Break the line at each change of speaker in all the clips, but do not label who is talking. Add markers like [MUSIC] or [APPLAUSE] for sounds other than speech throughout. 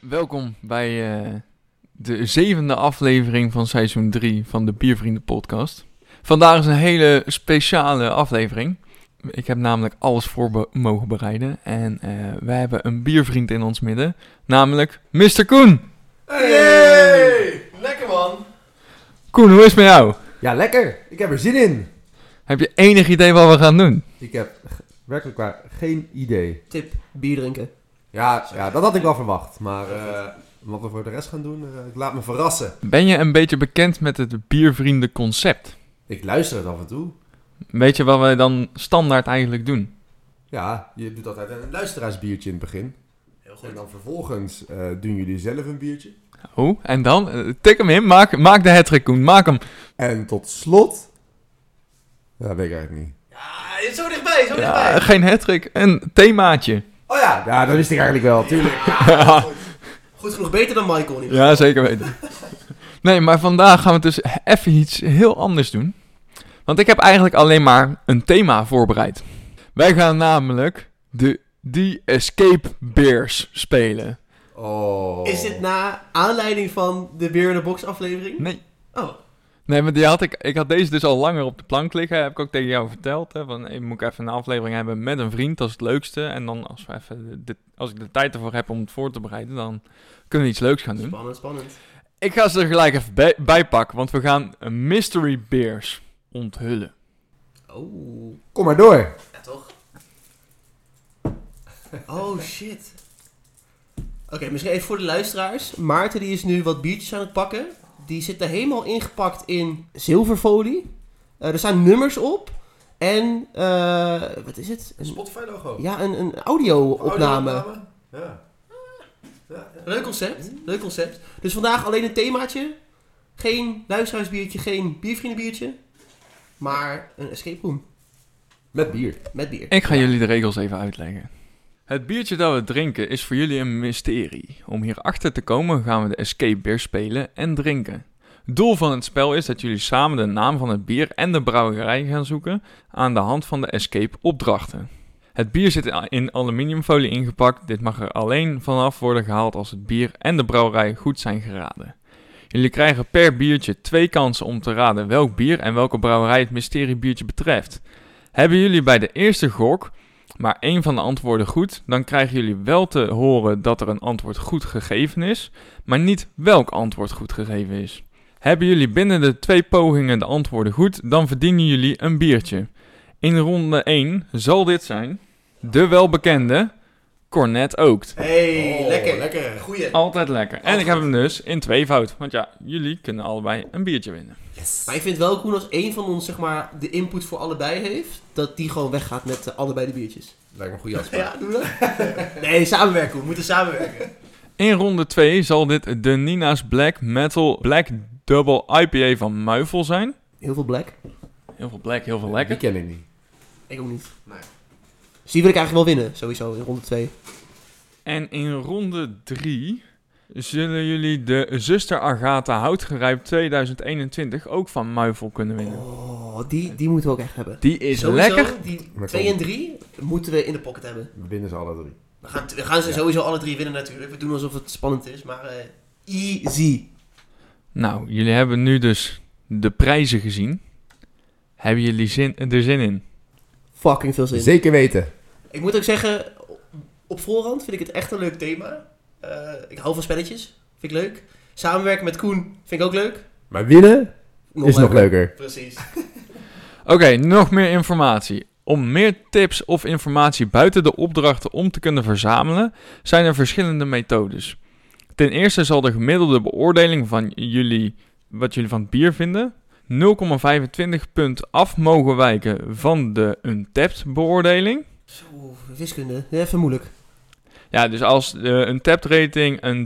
Welkom bij eh, de zevende aflevering van seizoen 3 van de Biervrienden podcast. Vandaag is een hele speciale aflevering. Ik heb namelijk alles voor be- mogen bereiden. En eh wij hebben een biervriend in ons midden, namelijk Mr. Koen.
Hey! Lekker man!
Koen, hoe is het met jou?
Ja, lekker! Ik heb er zin in!
Heb je enig idee wat we gaan doen?
Ik heb g- werkelijk waar geen idee.
Tip, bier drinken.
Ja, ja dat had ik wel verwacht. Maar eh, wat we voor de rest gaan doen, eh, ik laat me verrassen.
Ben je een beetje bekend met het biervrienden concept?
Ik luister het af en toe.
Weet je wat wij dan standaard eigenlijk doen?
Ja, je doet altijd een luisteraarsbiertje in het begin.
Heel
En dan vervolgens eh, doen jullie zelf een biertje.
Hoe? En dan? Eh, Tik hem in, maak, maak de hattrick Koen, maak hem.
En tot slot... Ja, dat weet ik eigenlijk niet.
Ja, je is zo dichtbij, zo
Ja, geen hattrick, een themaatje.
Oh ja, ja dat wist ik eigenlijk wel, tuurlijk.
Goed genoeg beter dan Michael
[LAUGHS]
nu.
Ja, zeker weten. Nee, maar vandaag gaan we dus even iets heel anders doen. Want ik heb eigenlijk alleen maar een thema voorbereid. Wij gaan namelijk de The Escape Bears spelen.
Oh.
Is dit na aanleiding van de Beer in de Box aflevering?
Nee.
Oh,
Nee, maar die had ik, ik had deze dus al langer op de plank liggen. Heb ik ook tegen jou verteld. Hè, van, hey, moet ik even een aflevering hebben met een vriend. Dat is het leukste. En dan als, we even de, de- als ik de tijd ervoor heb om het voor te bereiden, dan kunnen we iets leuks gaan doen.
spannend, spannend.
Ik ga ze er gelijk even bij, bij pakken, want we gaan een Mystery Bears onthullen.
Oh,
Kom maar door.
ja toch? Oh shit. Oké, misschien even voor de luisteraars. Maarten die is nu wat biertjes aan het pakken. Die zit er helemaal ingepakt in zilverfolie. Eh, er staan nummers op. En, eh, wat is het? Een-
Spotify logo.
ja, een, een audio-opname.
Ja.
Ah. Leuk concept, leuk concept. Dus vandaag alleen een themaatje. Geen luisteraarsbiertje, geen biervriendenbiertje. Maar een escape room
Met bier.
met bier.
Ik ga jullie de regels even uitleggen. Het biertje dat we drinken is voor jullie een mysterie. Om hierachter te komen gaan we de Escape Bears spelen en drinken. Doel van het spel is dat jullie samen de naam van het bier en de brouwerij gaan zoeken aan de hand van de escape opdrachten. Het bier zit in- in aluminiumfolie ingepakt. Dit mag er alleen vanaf worden gehaald als het bier en de brouwerij goed zijn geraden. Jullie krijgen per biertje twee kansen om te raden welk bier en welke brouwerij het mysteriebiertje betreft. Hebben jullie bij de eerste gok maar één van de antwoorden goed, dan krijgen jullie wel te horen dat er een antwoord goed gegeven is, maar niet welk antwoord goed gegeven is. Hebben jullie binnen de twee pogingen de antwoorden goed, dan verdienen jullie een biertje. In ronde 1 zal dit zijn de welbekende Cornet Ookt.
Hey,
Oh,
lekker.
lekker.
Goeie.
Altijd lekker. En ik heb hem dus in tweevoud, want ja, jullie kunnen allebei een biertje winnen.
Maar ik vind wel cool als één van ons zeg maar, de input voor allebei heeft, dat die gewoon weggaat met eh, allebei de biertjes.
Lijkt me een goede afspraak.
Ja, doen we dat? [LAUGHS] Nee, samenwerken. We moeten samenwerken.
In ronde 2 zal dit de Nina's Black Metal Black Double IPA van Muivel zijn.
Heel veel black.
Heel veel black, heel veel lekker.
Die ken ik niet.
Ik ook niet.
Nee.
Dus die wil ik eigenlijk wel winnen, sowieso, in ronde 2.
En in ronde 3 zullen jullie de Zuster Agatha Houtgerijpt 2021 ook van Muivel kunnen winnen.
Oh, die, die moeten we ook echt hebben.
Die is
Sowieso,
lekker.
Die
Maar
2
kom.
en 3 moeten we in de pocket hebben.
We winnen ze alle drie.
We gaan, we gaan ze
Ja.
sowieso alle drie winnen natuurlijk. We doen alsof het spannend is, maar eh, easy.
Nou, jullie hebben nu dus de prijzen gezien. Hebben jullie zin, er zin in?
Fucking veel zin.
Zeker weten.
Ik moet ook zeggen, op voorhand vind ik het echt een leuk thema. Eh, ik hou van spelletjes, vind ik leuk. Samenwerken met Koen vind ik ook leuk.
Maar winnen is nog leuker.
Precies.
Oké, nog meer informatie. Om meer tips of informatie buiten de opdrachten om te kunnen verzamelen, zijn er verschillende methodes. Ten eerste zal de gemiddelde beoordeling van jullie, wat jullie van het bier vinden, 0,25 punt af mogen wijken van de untapped beoordeling.
Zo, wiskunde. Even moeilijk.
Ja, dus als eh, een tapped rating een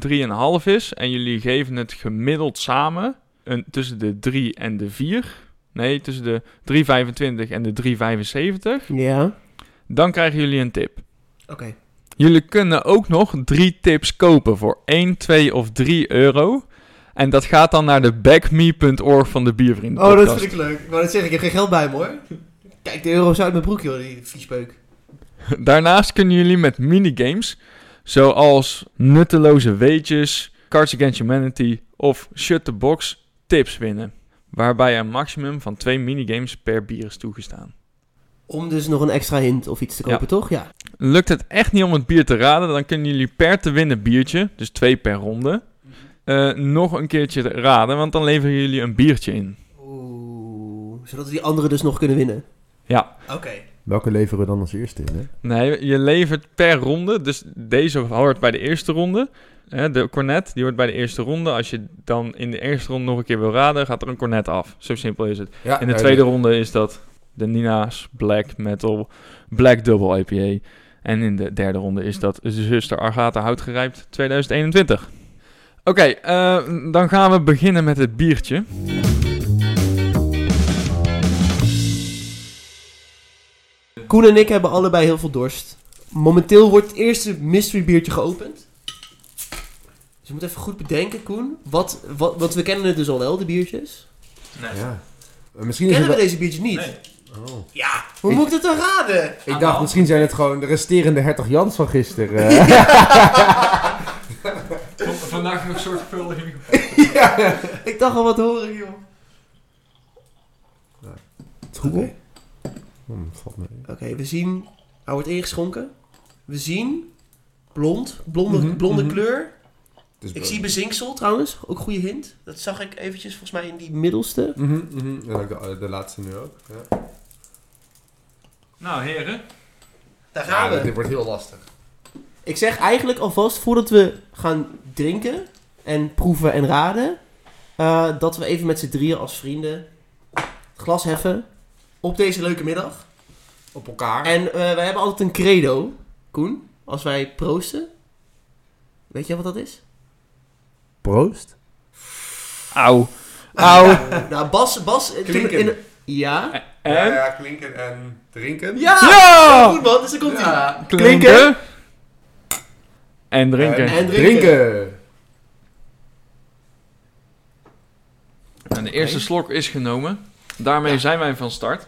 3,5 is en jullie geven het gemiddeld samen een, tussen de 3 en de 4, nee, tussen de 3,25 en de 3,75,
Ja. Oké.
dan krijgen jullie een tip. Jullie kunnen ook nog drie tips kopen voor 1, 2 of 3 euro. En dat gaat dan naar de backme.org van de biervrienden.
Oh, dat
podcast.
vind ik leuk. Maar dat zeg ik, ik heb geen geld bij me hoor. Kijk, de euro's uit mijn broek joh, die viespeuk.
[LAUGHS] Daarnaast kunnen jullie met minigames Zoals nutteloze weetjes, Cards Against Humanity of Shut the Box tips winnen. Waarbij een maximum van twee minigames per bier is toegestaan.
Om dus nog een extra hint of iets te kopen,
Ja.
toch? Ja.
Lukt het echt niet om het bier te raden, dan kunnen jullie per te winnen biertje, dus twee per ronde, eh, nog een keertje raden, want dan leveren jullie een biertje in.
Oeh, zodat we die anderen dus nog kunnen winnen.
Ja.
Oké.
Welke leveren we dan als eerste in? Hè?
Nee, je levert per ronde. Dus deze hoort bij de eerste ronde. Hè, de cornet, die hoort bij de eerste ronde. Als je dan in de eerste ronde nog een keer wil raden, gaat er een cornet af. Zo simpel is het.
Ja,
In de tweede ronde is dat de Nina's Black Metal Black Double IPA. En in de derde ronde is dat Zuster Argata Houtgerijpt 2021. Oké, eh, dan gaan we beginnen met het biertje.
Koen en ik hebben allebei heel veel dorst. Momenteel wordt het eerste mystery biertje geopend. Dus je moet even goed bedenken, Koen. Wat, wat, want we kennen het dus al wel, de biertjes.
Ja. Eh, Misschien is het
Kennen we
wel-
deze biertjes niet?
Oh.
Ja, hoe
Ik-
moet ik het dan raden?
Ik dacht, misschien zijn het gewoon de resterende hertog Jans van gisteren.
[LAUGHS]
eh.
Vandaag nog zorgvuldig in
Ik dacht al wat horen, joh.
Troebel?
Oké.
Hm, het valt mee.
Oké, we zien... Hij wordt ingeschonken. We zien... Blond. Blonde,
Mhm,
blonde
mhm.
kleur.
Het is
Ik
brood.
zie bezinksel trouwens. Ook goede hint. Dat zag ik eventjes volgens mij in die middelste.
Mhm, mhm. En ook de, de laatste nu ook. Ja.
Nou, heren.
Daar gaan we.
Dit wordt heel lastig.
Ik zeg eigenlijk alvast voordat we gaan drinken en proeven en raden, eh, dat we even met z'n drieën als vrienden het glas heffen op deze leuke middag.
Op elkaar.
En eh, wij hebben altijd een credo, Koen, als wij proosten. Weet jij wat dat is?
Proost.
Auw. Auw.
Nou, Bas, Bas, eh, toen
Klinken.
in ja.
En?
klinken en drinken.
Ja!
Ja!
Goed man, dus dan komt hij.
Klinken. En drinken.
Eh,
En-
En,
drinken.
de eerste slok is genomen. Daarmee zijn wij van start.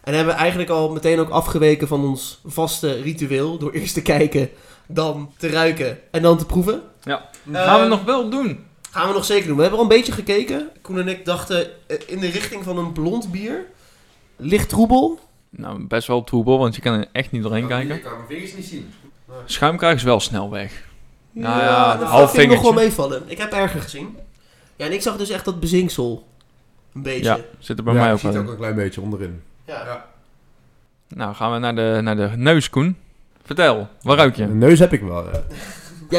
En hebben we eigenlijk al meteen ook afgeweken van ons vaste ritueel door eerst te kijken, dan te ruiken en dan te proeven.
Gaan we
Ehm,
nog wel doen.
Gaan we nog zeker doen. We hebben al een beetje gekeken. Koen en ik dachten eh, in de richting van een blond bier. Licht troebel.
Nou, best wel troebel, want je kan er echt niet doorheen kijken.
Ik kan mijn vingers niet zien.
Schuim krijgen is wel snel weg. Nou ja,
dat
half
vind ik nog wel
vingertje.
meevallen. Ik heb erger gezien. Ja, en ik zag dus echt dat bezinksel. Een beetje.
Ja, zit er bij mij ook wel in.
een klein beetje onderin.
Ja.
Nou, gaan we naar de, naar de neus, Koen. Vertel, waar ruik je?
Een neus heb ik wel. ja.
Daar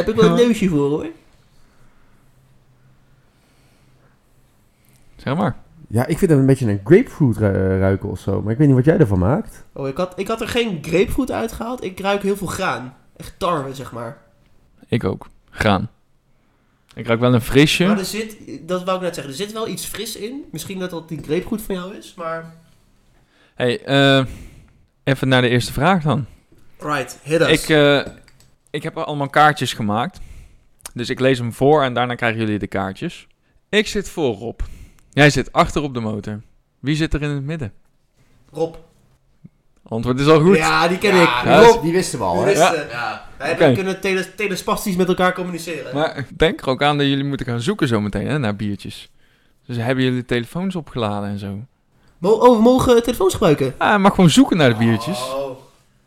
heb ik wel een neusje voor hoor.
Zeg maar.
Ja, ik vind hem een beetje een grapefruit ru- eh, ruiken of zo. Maar ik weet niet wat jij ervan maakt.
Oh, ik had, ik had er geen grapefruit uitgehaald. Ik ruik heel veel graan. Echt tarwe, zeg maar.
Ik ook. Graan. Ik ruik wel een frisje.
Maar er zit, dat wou ik net zeggen, er zit wel iets fris in. Misschien dat dat die grapefruit van jou is, maar...
hey, eh, even naar de eerste vraag dan.
Right, hit us.
Ik, eh, ik heb allemaal kaartjes gemaakt. Dus ik lees hem voor en daarna krijgen jullie de kaartjes. Ik zit voorop. Jij zit achter op de motor. Wie zit er in het midden?
Rob.
Antwoord is al goed.
Ja, die ken ik.
Ja,
Rob.
die wisten we al, hè?
Ja.
Juristen. Ja. Wij
Oké.
kunnen tele- telespastisch met elkaar communiceren.
Maar denk er ook aan dat jullie moeten gaan zoeken zometeen hè, naar biertjes. Dus hebben jullie telefoons opgeladen en zo.
Mo- oh, we mogen telefoons gebruiken.
Ah, je mag gewoon zoeken naar de biertjes.
Oh.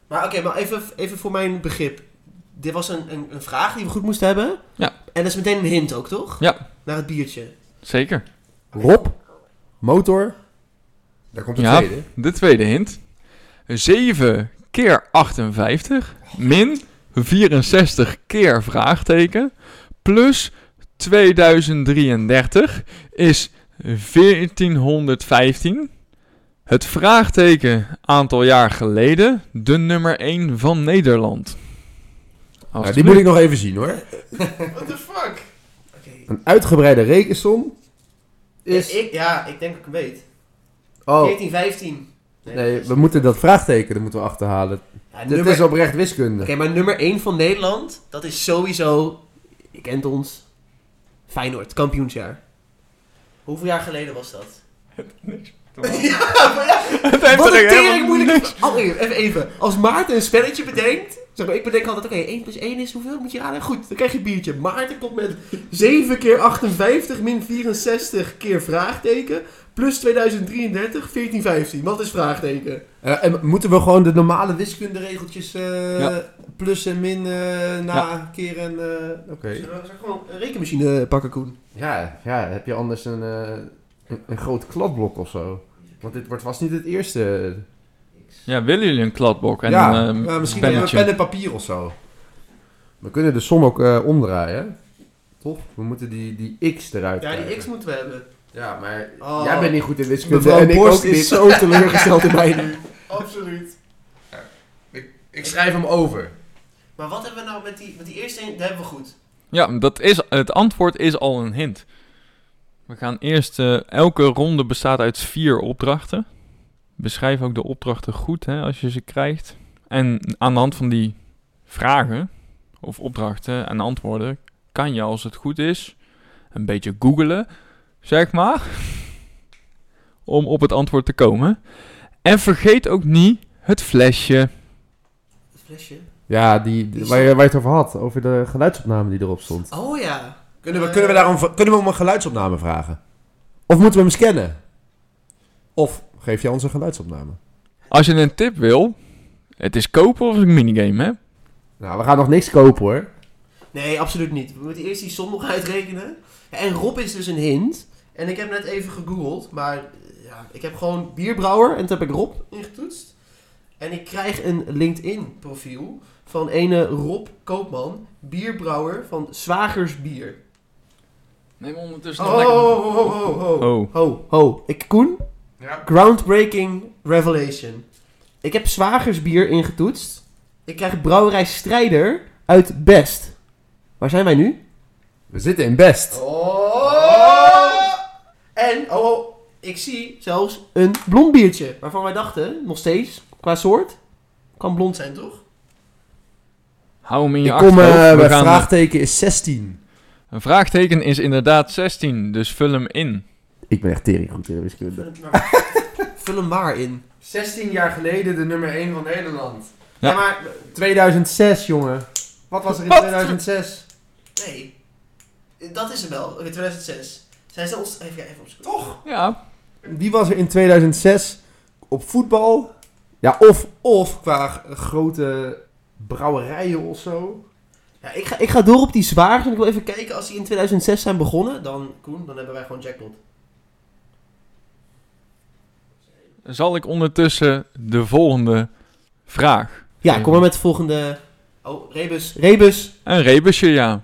Maar oké, maar even, even voor mijn begrip. Dit was een, een, een vraag die we goed moesten hebben.
Ja.
En dat is meteen een hint ook, toch?
Ja.
Naar het biertje.
Zeker.
Rob. Motor. Daar komt de
Ja.
tweede.
De tweede hint. 7 keer 58 min 64 keer vraagteken plus 2033 is 1415. Het vraagteken aantal jaar geleden de nummer 1 van Nederland.
Nou, die moet ik nog even zien, hoor.
What the fuck? Oké. Dus-
Een uitgebreide rekensom. Is-
Ik, ja, ik denk dat ik hem weet.
Oh,
14, 15.
nee, we moeten dat vraagteken dat moeten we achterhalen.
Ja,
Dit
nummer-
is oprecht wiskunde.
Oké, maar nummer 1 van Nederland, dat is sowieso, je kent ons, Feyenoord, kampioensjaar. Hoeveel jaar geleden was dat? [LAUGHS] ja, maar ja, wat een tering moeilijk... Oh, even, even, als Maarten een spelletje bedenkt, Zeg maar, ik bedenk altijd, oké, 1 plus 1 is hoeveel? Moet je raden? Goed, dan krijg je een biertje. Maarten komt met 7 keer 58 min 64 keer vraagteken. Plus 2033, 1415. Wat is vraagteken?
Eh, en moeten we gewoon de normale wiskunderegeltjes eh, plus en min eh, na keer en... eh, Oké.
Zullen we gewoon een rekenmachine pakken, Koen?
Ja, ja, heb je anders een, eh, een, een groot kladblok of zo? Want dit wordt vast niet het eerste. eh,
Ja, willen jullie een kladblok en
ja,
een
maar
eh,
misschien hebben we
pennetje?
pen en papier of zo. We kunnen de som ook eh, omdraaien. Toch? We moeten die, die x eruit
Ja, die
krijgen.
x moeten we hebben.
Ja, maar
Oh.
jij bent niet goed in wiskunde
Mevrouw
en ik
Borst
ook
is
niet. [LAUGHS]
zo teleurgesteld in mij nu. Absoluut.
Ik schrijf hem over.
Maar wat hebben we nou met die, met die eerste een? Dat hebben we goed.
Ja, dat is, het antwoord is al een hint. We gaan eerst, eh, elke ronde bestaat uit vier opdrachten. Beschrijf ook de opdrachten goed hè, als je ze krijgt. En aan de hand van die vragen of opdrachten en antwoorden kan je als het goed is een beetje googelen, zeg maar, [LAUGHS] om op het antwoord te komen. En vergeet ook niet het flesje.
Het flesje.
Ja, die,
Die
waar, je, waar je het over had. Over de geluidsopname die erop stond.
Oh ja.
Kunnen we,
Eh,
kunnen we, daarom, kunnen we om een geluidsopname vragen? Of moeten we hem scannen? Of geef jij ons een geluidsopname?
Als je een tip wil, het is kopen of een minigame, hè?
Nou, we gaan nog niks kopen hoor.
Nee, absoluut niet. We moeten eerst die som nog uitrekenen. Ja, En Rob is dus een hint. En ik heb net even gegoogeld, maar eh, ja, ik heb gewoon bierbrouwer en toen heb ik Rob ingetoetst. En ik krijg een LinkedIn profiel van ene Rob Koopman, bierbrouwer van Zwagers Bier.
Neem ondertussen
Oh, ho, ho, ho, ho, ho.
Oh,
Ho, ho. Ik, Koen,
Ja.
groundbreaking revelation. Ik heb Zwagers Bier ingetoetst. Ik krijg brouwerij Strijder uit Best. Waar zijn wij nu?
We zitten in best.
Oh! En, oh, oh, ik zie zelfs een blond biertje. Waarvan wij dachten, nog steeds, qua soort, kan blond zijn, toch?
hou hem in je
Ik kom eh,
achterhoofd. We
bij
gaan- eh,
vraagteken is 16.
Een vraagteken is inderdaad 16, dus vul hem in.
Ik ben echt tering goed in
[LAUGHS]
wiskunde.
Vul hem maar in.
16 jaar geleden de nummer 1 van Nederland.
Ja.
Ja, maar,
2006 jongen. Wat was er in
Wat?
2006?
nee. Dat is hem wel, in 2006. Zijn ze ons... Even, even opzoeken. Toch?
Ja.
Wie was er in 2006 op voetbal? Ja, of, of qua g- grote brouwerijen of zo.
Ja, ik ga, ik ga door op die zwaar. En ik wil even kijken, als die in 2006 zijn begonnen, dan, Koen, dan hebben wij gewoon jackpot.
Zal ik ondertussen de volgende vraag.
Ja, kom maar met de volgende... Oh, Rebus. Rebus.
Een rebusje, ja.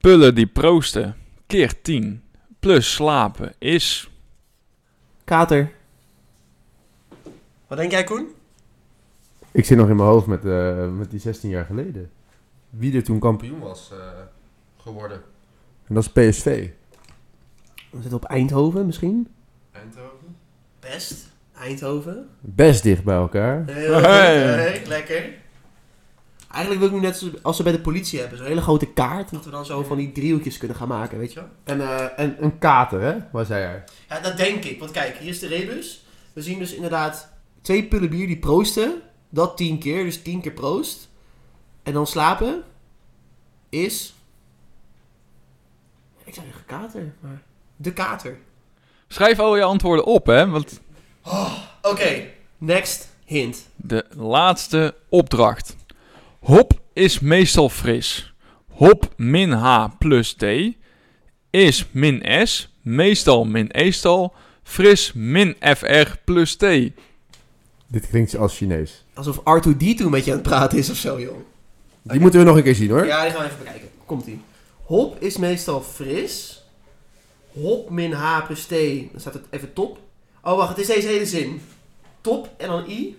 Pullen die proosten keer 10 plus slapen is...
Kater. Wat denk jij, Koen?
Ik zit nog in mijn hoofd met, eh, met die 16 jaar geleden. Wie er toen kampioen was eh, geworden. En dat is PSV.
We zitten op Eindhoven misschien.
Eindhoven?
Best. Eindhoven.
Best dicht bij elkaar.
Heel goed,
Hey.
hey, lekker. Eigenlijk wil ik nu net zo- als ze bij de politie hebben, zo'n hele grote kaart. Dat we dan zo van die driehoekjes kunnen gaan maken, weet je wel?
En, eh, en een kater, hè? Was hij er?
Ja, dat denk ik. Want kijk, hier is de rebus. We zien dus inderdaad twee pullen bier die proosten. Dat tien keer, dus tien keer proost. En dan slapen is... Ik zou zeggen kater, maar... De kater.
Schrijf al je antwoorden op, hè. Want
Oké, next hint.
de laatste opdracht. Hop is meestal fris. Hop min H plus T is min S, meestal min eestal, fris min FR plus T.
Dit klinkt als Chinees.
Alsof R2D2 met je aan het praten is of zo, joh.
Die moeten we nog een keer zien, hoor.
Ja, die gaan we even bekijken. Komt ie. Hop is meestal fris. Hop min H plus T. Dan staat het even top. Oh, wacht, het is deze hele zin. Top en dan I.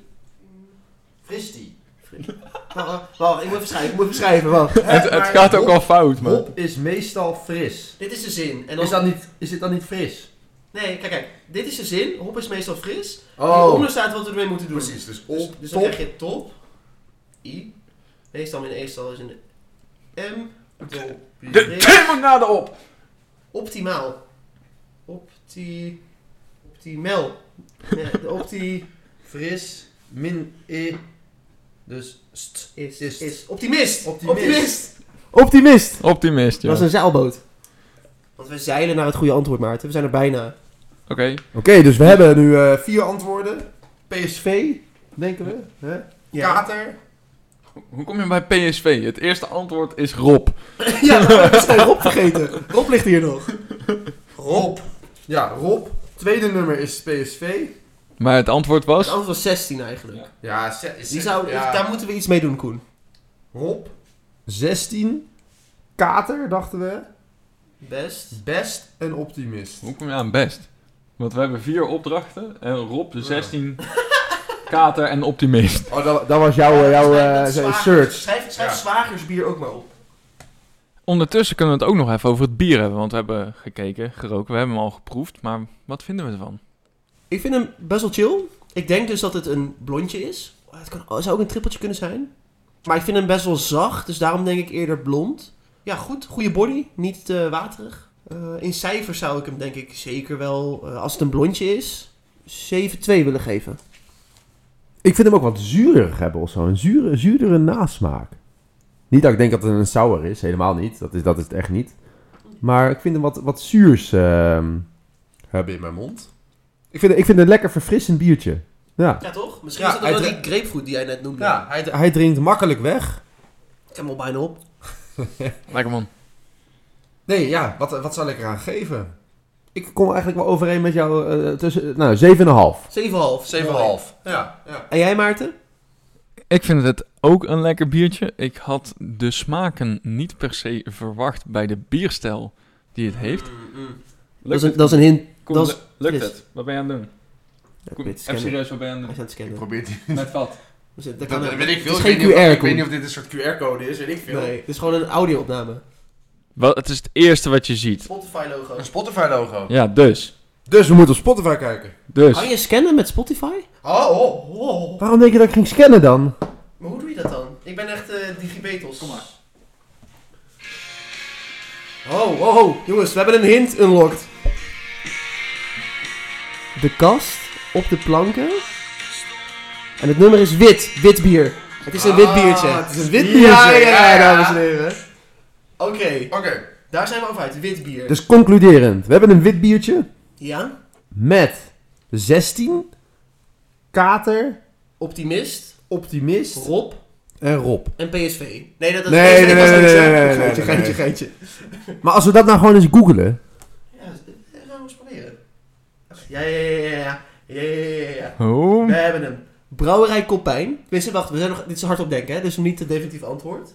Fris
[LAUGHS]
die. Fris. Wacht, wacht, wacht, ik moet even schrijven, ik moet even schrijven, wacht.
Het, het gaat ook al fout, man.
is meestal fris.
Dit is de zin. En dan...
niet, is dit dan niet fris?
Nee, kijk, kijk. Dit is de zin. Hop is meestal fris.
Oh.
En hieronder staat wat we ermee moeten doen.
dus
Dus, dus dan krijg je top. I. Meestal min E-stal is een M. Top. Fris.
na de op!
Optimaal. Opti... Optimel. Nee, de opti... Fris.
min e Dus st.
Is,
Is-
is, optimist.
Optimist.
Optimist.
Optimist, ja.
Dat
Oké,
is een zeilboot. Want we zeilen naar het goede antwoord, Maarten. We zijn er bijna.
Oké, dus we hebben nu eh, vier antwoorden. PSV, denken we. Hè? Kater.
hoe kom je bij PSV? Het eerste antwoord is Rob.
[LAUGHS] ja, we hebben
[LAUGHS]
zijn Rob vergeten. Rob ligt hier nog.
Rob. Ja, Rob. Tweede nummer is PSV.
Maar het antwoord
Het
was...
antwoord was 16 eigenlijk.
Ja, ze- is
Die zou, Daar moeten we iets mee doen, Koen.
Rob. 16. Kater, dachten we.
Best.
Best en optimist.
Hoe kom je aan best? Want we hebben vier opdrachten en Rob de 16
[LAUGHS]
kater en optimist.
Oh, dat, dat was jouw, eh, jouw eh, search.
Schrijf,
schrijf Ja.
zwagersbier ook maar op.
Ondertussen kunnen we het ook nog even over het bier hebben, want we hebben gekeken, geroken, we hebben hem al geproefd, maar wat vinden we ervan?
Ik vind hem best wel chill. Ik denk dus dat het een blondje is. Het kan, het zou ook een trippeltje kunnen zijn. Maar ik vind hem best wel zacht, dus daarom denk ik eerder blond. Ja, goed. Goede body. Niet te waterig. Eh, in cijfers zou ik hem denk ik zeker wel, eh, als het een blondje is, 7-2 willen geven.
Ik vind hem ook wat zuurig hebben of zo. Een zure, zuurdere nasmaak. Niet dat ik denk dat het een sour is. Helemaal niet. Dat is, dat is het echt niet. Maar ik vind hem wat, wat zuurs ehm, hebben in mijn mond. Ik vind, ik vind het een lekker verfrissend biertje. Ja.
Ja, toch? Misschien
Ja,
is dat ook
hij
wel die grapefruit die jij net noemde.
hij, hij drinkt makkelijk weg.
Ik heb hem al bijna op.
Lekker man.
Nee, ja, wat, wat zal ik eraan geven? Ik kom eigenlijk wel overeen met jou eh, tussen... Nou, 7,5.
7,5.
7,5. Ja, ja.
En jij, Maarten?
Ik vind het ook een lekker biertje. Ik had de smaken niet per se verwacht bij de bierstijl die het heeft. mm.
Dat is, een, dat is een hint. dat is-
lukt
Chris.
het? Wat ben je aan het doen?
Ja,
Kom,
ik weet
even
het scannen.
serieus, wat ben je aan
Hij
het
is aan het
Ik
scannen.
probeer die-
[LAUGHS]
doen? Met wat?
Dus dat- dat
Dat,
kan
dat
ook.
weet ik
Het
veel.
is
Ik
geen
weet niet of-
QR-code.
Ik weet niet of dit een soort QR-code is, weet ik veel.
Nee, het is gewoon een audio-opname.
Wel, het is het eerste wat je ziet.
Spotify-logo.
Een Spotify-logo.
Ja, dus.
Dus we moeten op Spotify kijken.
Dus.
Kan je scannen met Spotify?
Oh, oh.
Waarom denk je dat ik ging scannen dan?
Maar hoe doe je dat dan? Ik ben echt eh, digibetels. Kom maar. Oh, oh, oh. Jongens, we hebben een hint unlocked. De kast op de planken. En het nummer is wit. Wit bier. Het is een wit biertje.
Ah, het is een
wit
biertje.
Ja, ja, ja,
Ja.
dames en heren. Oké,
Oké.
daar zijn we over uit. Wit bier.
Dus concluderend, we hebben een wit biertje
Ja,
met 16, Kater,
optimist,
Optimist
Rob
en Rob.
en PSV. Nee, dat, dat
Nee,
PSV
nee,
was
nee,
niks, hè?
nee, nee, nee, nee,
Geintje, geintje,
nee.
geintje.
Maar als we dat nou gewoon eens googelen.
Ja, dat gaan we eens proberen. Ja, ja, ja, ja, ja, ja, ja, ja, ja.
Oh.
We hebben hem. Brouwerij Koppijn. Wisten, wacht, we zijn nog, dit is hardop denken, hè? dus niet het definitief antwoord.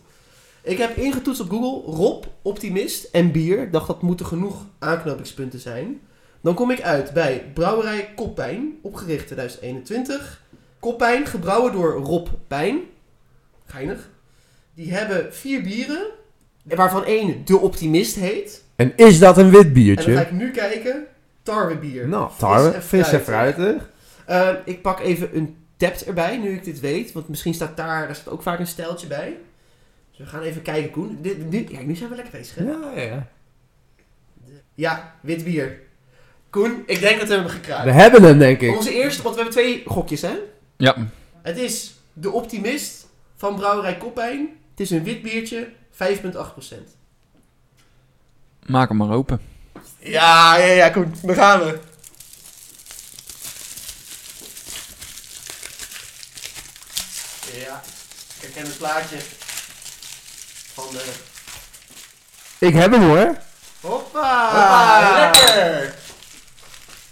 Ik heb ingetoetst op Google Rob, optimist en bier. Ik dacht dat moeten genoeg aanknopingspunten zijn. Dan kom ik uit bij Brouwerij Koppijn, opgericht in 2021. Koppijn, gebrouwen door Rob Pijn. Geinig. Die hebben vier bieren, waarvan één De Optimist heet.
En is dat een wit
En dan ga
biertje?
ik nu kijken. Tarwebier.
Nou,
en
tarwe, fris en
fruitig.
fruitig.
Eh, ik pak even een tapt erbij, nu ik dit weet. Want misschien staat daar, daar staat ook vaak een stijltje bij. Dus we gaan even kijken, Koen. Dit, dit, ja, nu zijn we lekker bezig, hè? Ja,
Ja, ja.
wit bier. Koen, ik denk dat we hem
We
gekraakt.
hebben hem, denk ik.
Onze eerste, want we hebben twee gokjes, hè?
Ja,
Het is De Optimist van Brouwerij Koppijn. Het is een wit biertje, 5,8%.
maak hem maar open.
Ja, ja, ja, Koen, daar gaan we. Ja, ik herken het plaatje van de...
Ik heb hem [LAUGHS] hoor.
Hoppa!
Hoppa!
Lekker!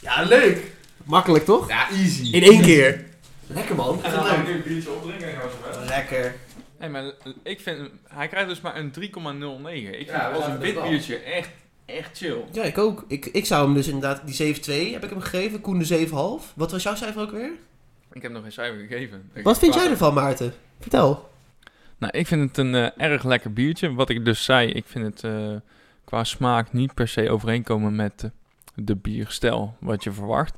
Ja, leuk!
Makkelijk toch?
Ja, easy.
In één keer. Lekker man, ik vind het leuk.
een biertje opdrinken en gaan we
Lekker.
Hé, maar ik vind, hij krijgt dus maar een 3,09. Ik
Ja,
vind
we
als
zaten
een
er
wit
wel.
biertje echt, echt chill.
Ja, ik ook. Ik, ik zou hem dus inderdaad, die 7-2 heb ik hem gegeven, Koen de 7,5. Wat was jouw cijfer ook weer?
Ik heb nog geen cijfer gegeven.
Wat vind jij ervan, Maarten? Vertel.
Nou, ik vind het een eh, erg lekker biertje. Wat ik dus zei, ik vind het eh, qua smaak niet per se overeenkomen met eh, de bierstijl wat je verwacht.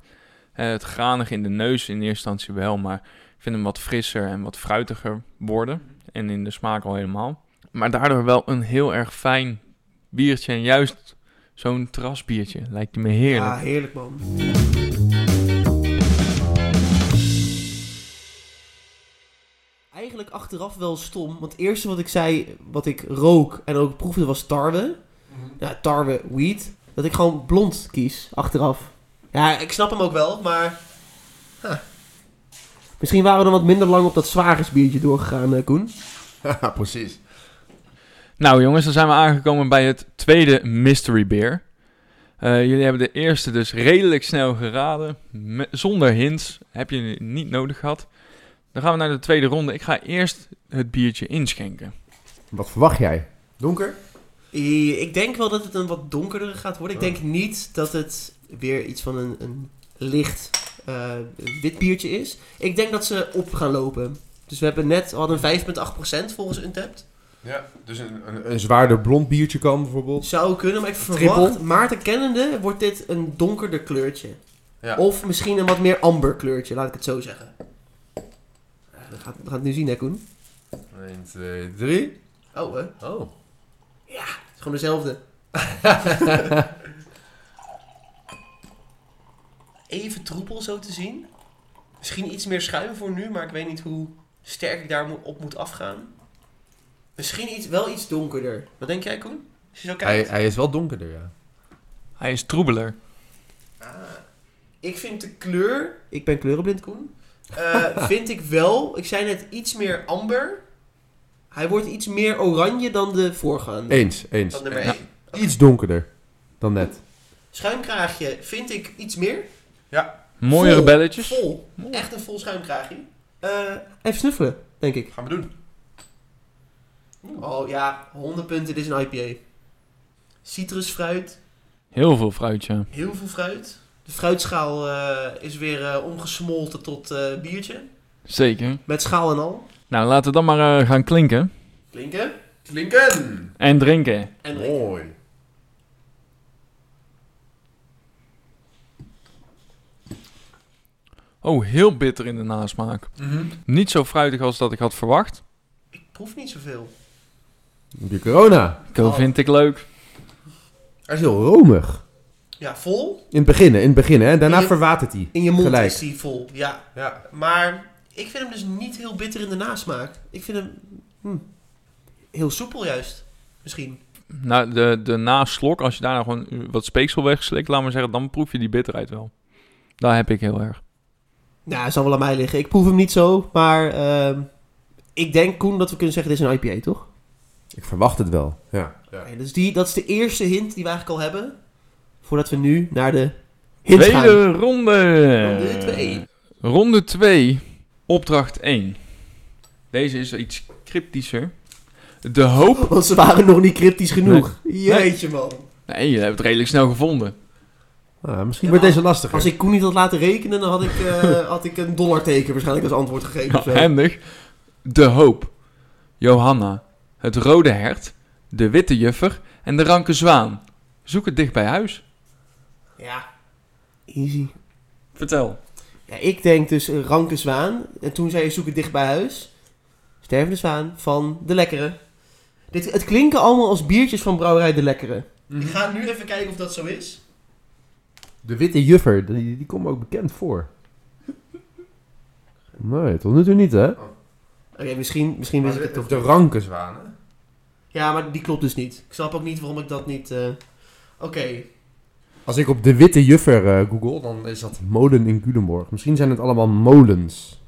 Eh, het granig in de neus in eerste instantie wel, maar ik vind hem wat frisser en wat fruitiger worden. En in de smaak al helemaal. Maar daardoor wel een heel erg fijn biertje en juist zo'n terrasbiertje. Lijkt me heerlijk.
Ah, heerlijk man. Eigenlijk eigenlijk achteraf wel stom. Want het eerste wat ik zei, wat ik rook en ook proefde, was tarwe. Ja, tarwe weed. Dat ik gewoon blond kies, achteraf. Ja, ik snap hem ook wel, maar... huh. Misschien waren we dan wat minder lang op dat zwagersbiertje doorgegaan, eh, Koen.
Haha, precies.
Nou jongens, dan zijn we aangekomen bij het tweede mystery beer. Eh, jullie hebben de eerste dus redelijk snel geraden. Me- zonder hints. Heb je niet nodig gehad. Dan gaan we naar de tweede ronde. Ik ga eerst het biertje inschenken.
Wat verwacht jij?
Donker?
Eh, Ik denk wel dat het een wat donkerdere gaat worden. Ik denk niet dat het weer iets van een, een licht eh, wit biertje is. Ik denk dat ze op gaan lopen. Dus we hebben net, we hadden 5,8% volgens Untapped.
Ja, dus een, een,
Een zwaarder blond biertje kan bijvoorbeeld.
Zou kunnen, maar ik
Triple?
verwacht, Maarten kennende, wordt dit een donkerder kleurtje.
Ja.
Of misschien een wat meer amber kleurtje, laat ik het zo zeggen. Eh, We gaan, we gaan het nu zien, hè Koen?
1, 2, 3.
Oh, hè? Het
Oh.
is gewoon dezelfde. [LAUGHS] Even troepel zo te zien. Misschien iets meer schuim voor nu, maar ik weet niet hoe sterk ik daar mo- op moet afgaan. Misschien iets, wel iets donkerder. Wat denk jij, Koen? Als je zo kijkt.
is wel donkerder, ja.
Hij is troebeler.
Ik vind de kleur, ik ben kleurenblind Koen, Eh, vind ik wel, ik zei net iets meer amber. Hij wordt iets meer oranje dan de voorgaande.
Eens, eens.
Dan nummer
Ja.
één.
Iets donkerder dan net.
Schuimkraagje vind ik iets meer.
Mooiere
Vol.
belletjes.
Vol.
Mooi.
Echt een vol schuimkraagje. Eh, even snuffelen, denk ik.
Gaan we doen.
Oh ja, 100 punten, dit is een IPA. Citrusfruit,
Heel veel fruitje.
heel veel fruit. De fruitschaal eh, is weer eh, omgesmolten tot eh, biertje.
Zeker.
Met schaal en al.
Nou, laten we dan maar eh, gaan klinken.
Klinken.
Klinken!
En drinken.
En drinken.
Mooi.
Oh, heel bitter in de nasmaak. Niet zo fruitig als dat ik had verwacht.
Ik proef niet zoveel.
Heb je corona?
Dat
Oh.
vind ik leuk.
Hij is heel romig.
Ja, vol.
In het begin, hè, in het begin, hè. Daarna
Je-
verwatert hij.
In je mond
Gelijk.
is die vol, ja.
Ja.
Maar ik vind hem dus niet heel bitter in de nasmaak. Ik vind hem hm, heel soepel juist, misschien.
Nou, de, de naslok, als je daar nou gewoon wat speeksel wegslikt, laat maar zeggen, dan proef je die bitterheid wel. Daar heb ik heel erg.
Nou, hij zal wel aan mij liggen. Ik proef hem niet zo, maar ehm, ik denk, Koen, dat we kunnen zeggen, dit is een IPA, toch?
Ik verwacht het wel. Ja.
Ja.
Nee, dus die, dat is de eerste hint die we eigenlijk al hebben, voordat we nu naar de hint gaan.
Tweede ronde.
Ronde twee.
Ronde 2, opdracht 1. Deze is iets cryptischer. De hoop...
Want ze waren nog niet cryptisch genoeg. Jeetje, man.
Nee, je hebt het redelijk snel gevonden.
Ah, misschien
Ja,
wordt
maar
deze lastiger.
Als ik Koen niet had laten rekenen, dan had ik, eh, had ik een dollarteken waarschijnlijk als antwoord gegeven. of zo.
Handig. De hoop. Johanna. Het rode hert. De witte juffer. En de ranke zwaan. Zoek het dicht bij huis.
Ja. Easy.
Vertel.
Ja, ik denk dus een ranke zwaan. En toen zei je zoek het dicht bij huis. Stervende zwaan van De Lekkere. Dit, het klinken allemaal als biertjes van brouwerij De Lekkere.
Mhm.
Ik ga nu even kijken of dat zo is.
De witte juffer, die, die komt me ook bekend voor. Nee, tot nu toe niet, hè?
Oké, misschien, misschien wist ik het toch.
Of de ranke zwanen.
Ja, maar die klopt dus niet. Ik snap ook niet waarom ik dat niet... eh, Oké,
Als ik op de witte juffer eh, google, dan is dat molen in Culemborg. Misschien zijn het allemaal molens.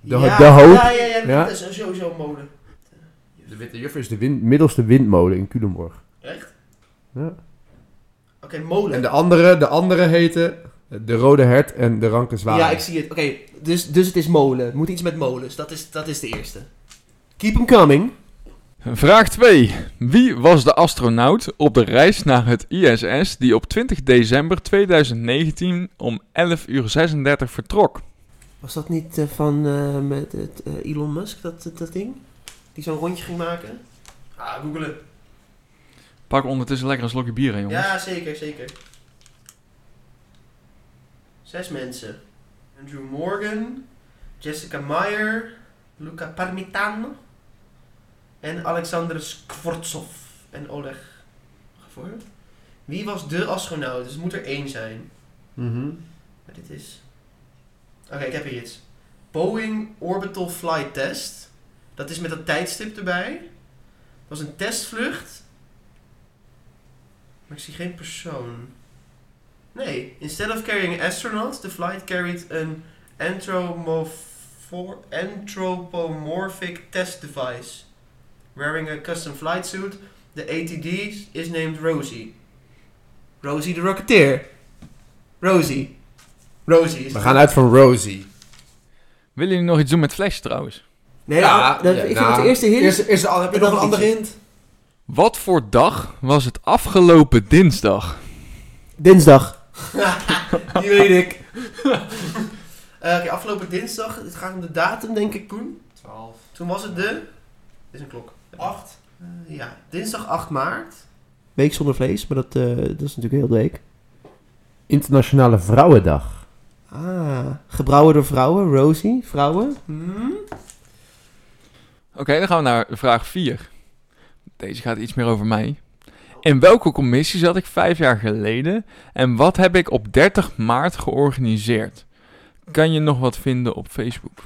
De,
ja,
de hoop.
Ja, ja, ja,
Ja.
dat is sowieso een molen.
De witte juffer.
is de wind, middelste windmolen in Culemborg.
Echt?
Ja.
Oké, molen.
En de andere, de andere heten de rode hert en de ranke zwaan.
Ja, ik zie het. Oké, dus, dus het is molen. Het moet iets met molens. Dat is, dat is de eerste. Keep 'em coming.
Vraag 2. Wie was de astronaut op de reis naar het ISS die op 20 december 2019 om 11 uur 36 vertrok?
Was dat niet eh, van eh, met het, eh, Elon Musk, dat, dat, dat ding? Die zo'n rondje ging maken? Ah, googelen.
Pak ondertussen lekker een slokje bier aan, jongens.
Ja, zeker, zeker. Zes mensen. Andrew Morgan, Jessica Meyer, Luca Parmitano en Alexander Skvortsov en Oleg. Ga voor. Wie was de astronaut? Dus het moet er één zijn.
Mhm.
Maar dit is. Oké, ik heb hier iets. Boeing Orbital Flight Test. Dat is met dat tijdstip erbij. Dat was een testvlucht. Maar ik zie geen persoon. Nee, instead of carrying an astronaut, the flight carried an anthromofor- anthropomorphic test device. Wearing a custom flight suit, the ATD is named Rosie. Rosie de Rocketeer. Rosie. Rosie is
We gaan uit van Rosie.
Willen jullie nog iets doen met Flash trouwens?
Nee, dat- dat- ik vind het de eerste hint.
nou, Eerst, eerst, al- heb je
En dan
nog een andere
liedje.
hint?
Wat voor dag was het afgelopen dinsdag?
Dinsdag. [LAUGHS] Die weet ik. [LAUGHS] Eh, Oké, afgelopen dinsdag, het gaat om de datum denk ik Koen.
12.
Toen was het de... Dit is een klok. 8? ja, dinsdag 8 maart. Week zonder vlees, maar dat, eh, dat is natuurlijk heel de week.
Internationale Vrouwendag.
Ah, gebrouwen door vrouwen, Rosie, vrouwen.
Oké, dan gaan we naar vraag 4. Deze gaat iets meer over mij. In welke commissie zat ik vijf jaar geleden en wat heb ik op 30 maart georganiseerd? Kan je nog wat vinden op Facebook?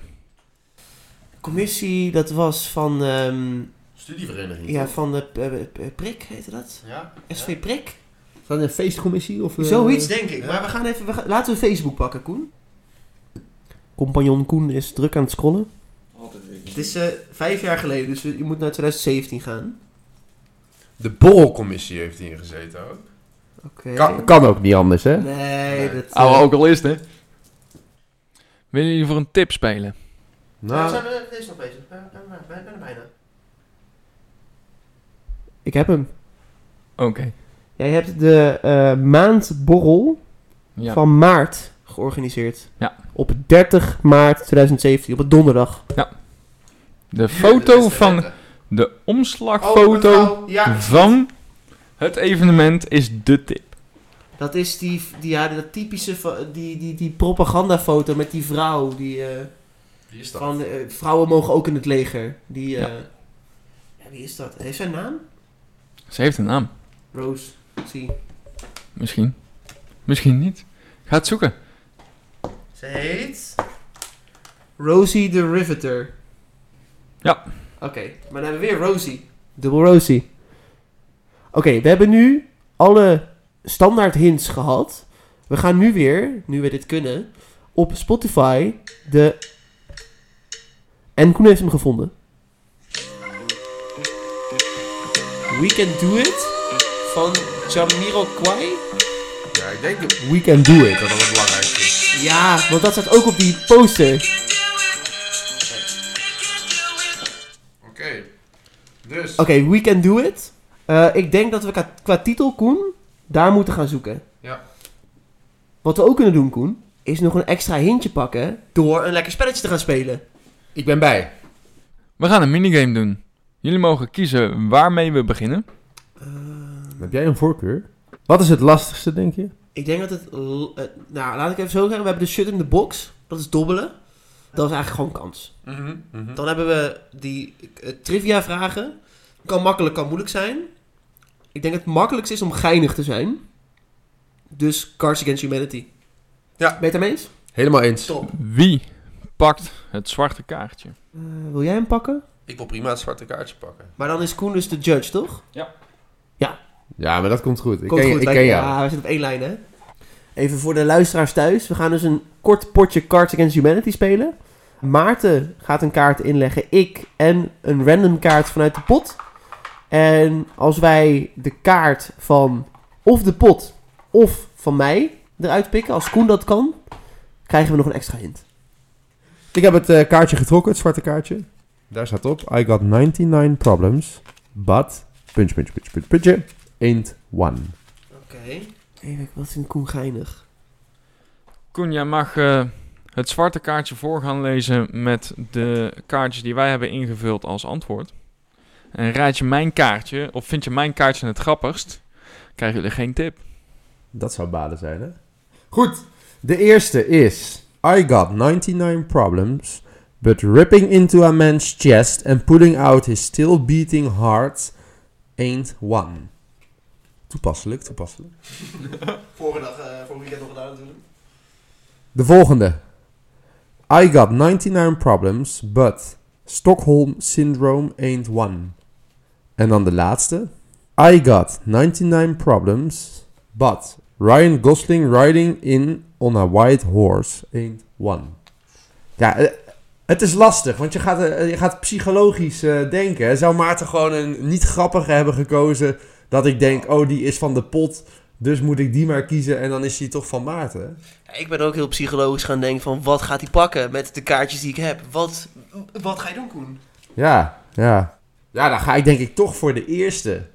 Commissie, dat was van, ehm,
Studievereniging.
ja, van de eh, eh, Prik, heette dat?
Ja?
SV Prik?
Is dat een feestcommissie? Of, eh,
Zoiets denk ik,
ja.
maar we gaan even, we gaan- laten we Facebook pakken Koen. Compagnon Koen is druk aan het scrollen.
Altijd
Het is eh, vijf jaar geleden, dus je moet naar 2017 gaan.
De borrelcommissie heeft hierin gezeten ook.
Oké.
Kan, kan ook niet anders, hè?
Nee, dat... eh,
Oude alcoholist, hè? Willen jullie voor een tip spelen?
nou,
Nou,
we zijn eh, deze nog bezig. We zijn bijna, bijna. Ik heb hem.
Oké.
Jij hebt de eh, maandborrel
Ja.
van maart georganiseerd.
Ja.
Op 30 maart 2017, op een donderdag.
De foto van de omslagfoto
Oh, ja.
van het evenement is de tip.
Dat is die, die, ja, dat typische, va- die, die, die propagandafoto met die vrouw. Die, eh,
Wie is dat?
van, eh, vrouwen mogen ook in het leger. Die,
Ja.
eh, ja, wie is dat? Heeft zijn naam?
Ze heeft een naam.
Rose. Zie.
Misschien. Misschien niet. Ga het zoeken.
Ze heet... Rosie the Riveter.
Ja.
Oké, maar dan hebben we weer Rosie. Dubbel Rosie. Oké, we hebben nu alle standaard hints gehad. We gaan nu weer, nu we dit kunnen, op Spotify de... En Koen heeft hem gevonden. We Can Do It van Jamiroquai.
Ja, ik denk dat
we can do it.
dat het belangrijkste is.
Ja, want dat staat ook op die poster.
Oké. Dus.
Oké, we can do it. Eh, ik denk dat we qua, qua titel, Koen, daar moeten gaan zoeken.
Ja.
Wat we ook kunnen doen, Koen, is nog een extra hintje pakken door een lekker spelletje te gaan spelen.
Ik ben bij.
We gaan een minigame doen. Jullie mogen kiezen waarmee we beginnen.
Heb jij een voorkeur? Wat is het lastigste, denk je?
Ik denk dat het... l- eh, nou, laat ik even zo zeggen. We hebben de shut in the box. Dat is dobbelen. Dat is eigenlijk gewoon kans.
Mhm, mhm.
Dan hebben we die eh, trivia vragen. Kan makkelijk, kan moeilijk zijn. Ik denk het makkelijkste is om geinig te zijn. Dus Cards Against Humanity.
Ja.
Ben je het daarmee eens?
Helemaal eens.
Top.
Wie pakt het zwarte kaartje?
Eh, wil jij hem pakken?
Ik wil prima het zwarte kaartje pakken.
Maar dan is Koen dus de judge, toch?
Ja, maar dat komt goed. Ik
Komt
ken,
goed,
ik
wij-
ken jou.
ja, we zitten op één lijn, hè? Even voor de luisteraars thuis. We gaan dus een kort potje Cards Against Humanity spelen. Maarten gaat een kaart inleggen. Ik en een random kaart vanuit de pot. En als wij de kaart van of de pot of van mij eruit pikken, als Koen dat kan, krijgen we nog een extra hint.
Ik heb het eh, kaartje getrokken, het zwarte kaartje. Daar staat op, I got 99 problems, but... Punch, punch, punch, punch, punch, ain't one.
Oké. Even, wat vindt Koen geinig?
Koen, jij mag eh, het zwarte kaartje voor gaan lezen met de kaartjes die wij hebben ingevuld als antwoord. En raad je mijn kaartje, of vind je mijn kaartje het grappigst, krijgen jullie geen tip.
Dat zou baden zijn, hè? Goed, de eerste is... I got 99 problems, but ripping into a man's chest and pulling out his still beating heart ain't one. Toepasselijk, toepasselijk.
Vorige dag, eh, vorige weekend nog gedaan natuurlijk.
De volgende. I got 99 problems, but Stockholm Syndrome Ain't One. En dan de laatste. I got 99 problems, but Ryan Gosling riding in on a white horse ain't one. Ja, eh, het is lastig, want je gaat, eh, je gaat psychologisch eh, denken. Zou Maarten gewoon een niet grappige hebben gekozen dat ik denk, oh die is van de pot, dus moet ik die maar kiezen en dan is die toch van Maarten.
Ik ben ook heel psychologisch gaan denken van wat gaat hij pakken met de kaartjes die ik heb. Wat, wat ga je doen, Koen?
Ja, ja. Ja, dan ga ik denk ik toch voor de eerste.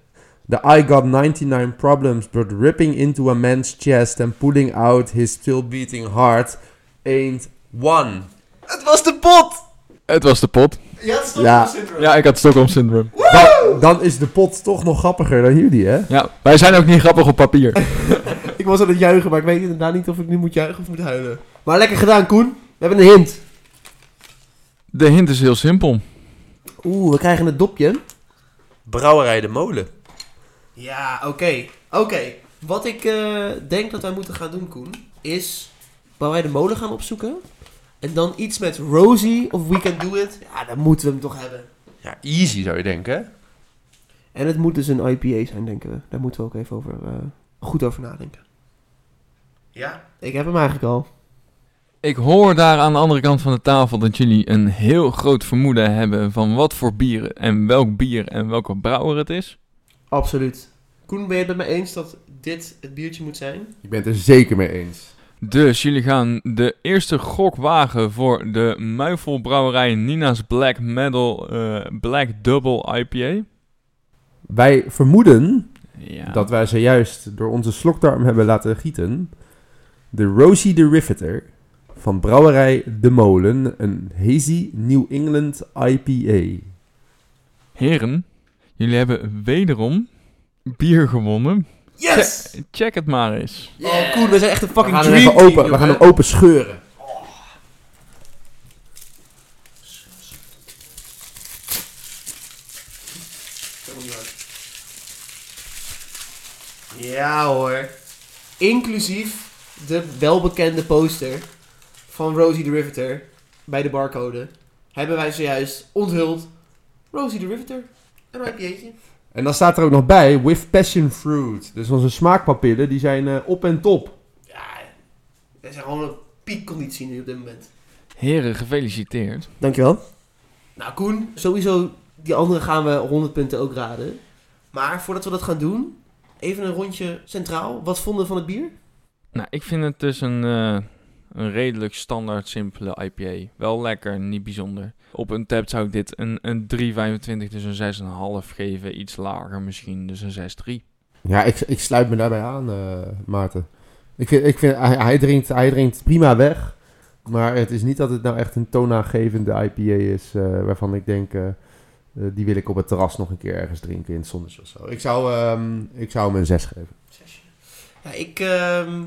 The I got 99 problems, but ripping into a man's chest and pulling out his still beating heart ain't one.
Het was de pot!
Het was de pot.
Ja, het
Ja.
syndrome.
Ja, ik had Stockholm Syndrome.
Dan, dan is de pot toch nog grappiger dan jullie, hè?
Ja, wij zijn ook niet grappig op papier.
Ik was aan het juichen, maar ik weet inderdaad niet of ik nu moet juichen of moet huilen. Maar lekker gedaan, Koen. We hebben een hint.
De hint is heel simpel.
Oeh, we krijgen een dopje.
Brouwerij De Molen.
Ja, oké. Oké. Wat ik eh, denk dat wij moeten gaan doen, Koen, is waar wij de molen gaan opzoeken. En dan iets met Rosie of We Can Do It. Ja, dan moeten we hem toch hebben.
Ja, easy zou je denken, hè?
En het moet dus een IPA zijn, denken we. Daar moeten we ook even over, eh, goed over nadenken.
Ja.
Ik heb hem eigenlijk al.
Ik hoor daar aan de andere kant van de tafel dat jullie een heel groot vermoeden hebben van wat voor bieren en welk bier en welke brouwer het is.
Absoluut. Koen, ben je het met me eens dat dit het biertje moet zijn?
Ik ben het er zeker mee eens.
Dus jullie gaan de eerste gok wagen voor de muifelbrouwerij Nina's Black Metal eh, Black Double IPA.
Wij vermoeden
Ja.
dat wij zojuist door onze slokdarm hebben laten gieten. De Rosie the Riveter van Brouwerij De Molen, een hazy New England IPA.
Heren, jullie hebben wederom bier gewonnen.
Yes!
Check het maar eens.
Oh, Koen, we zijn echt een
We
fucking
gaan hem
dream
even
team,
open, we gaan
jongen.
hem open scheuren.
Ja hoor. Inclusief de welbekende poster van Rosie the Riveter bij de barcode. Hebben wij zojuist onthuld. Rosie the Riveter. Een IPA'tje.
En dan staat er ook nog bij, with passion fruit. Dus onze smaakpapillen, die zijn eh, op en top.
Ja, we zijn gewoon op piekconditie nu op dit moment.
Heren, gefeliciteerd.
Dankjewel. Nou Koen, sowieso die andere gaan we 100 punten ook raden. Maar voordat we dat gaan doen, even een rondje centraal. Wat vonden we van het bier?
Nou, ik vind het dus een, eh, een redelijk standaard simpele IPA. Wel lekker, niet bijzonder. Op een tap zou ik dit een, een 3,25, dus een 6,5 geven. Iets lager misschien, dus een 6,3.
Ja, ik, ik sluit me daarbij aan, eh, Maarten. Ik vind, ik vind hij, hij drinkt, hij drinkt prima weg. Maar het is niet dat het nou echt een toonaangevende IPA is... eh, waarvan ik denk, eh, eh, die wil ik op het terras nog een keer ergens drinken in het zonnetje of zo. Ik zou, ehm, ik zou hem een 6 geven.
Ja, ik ehm,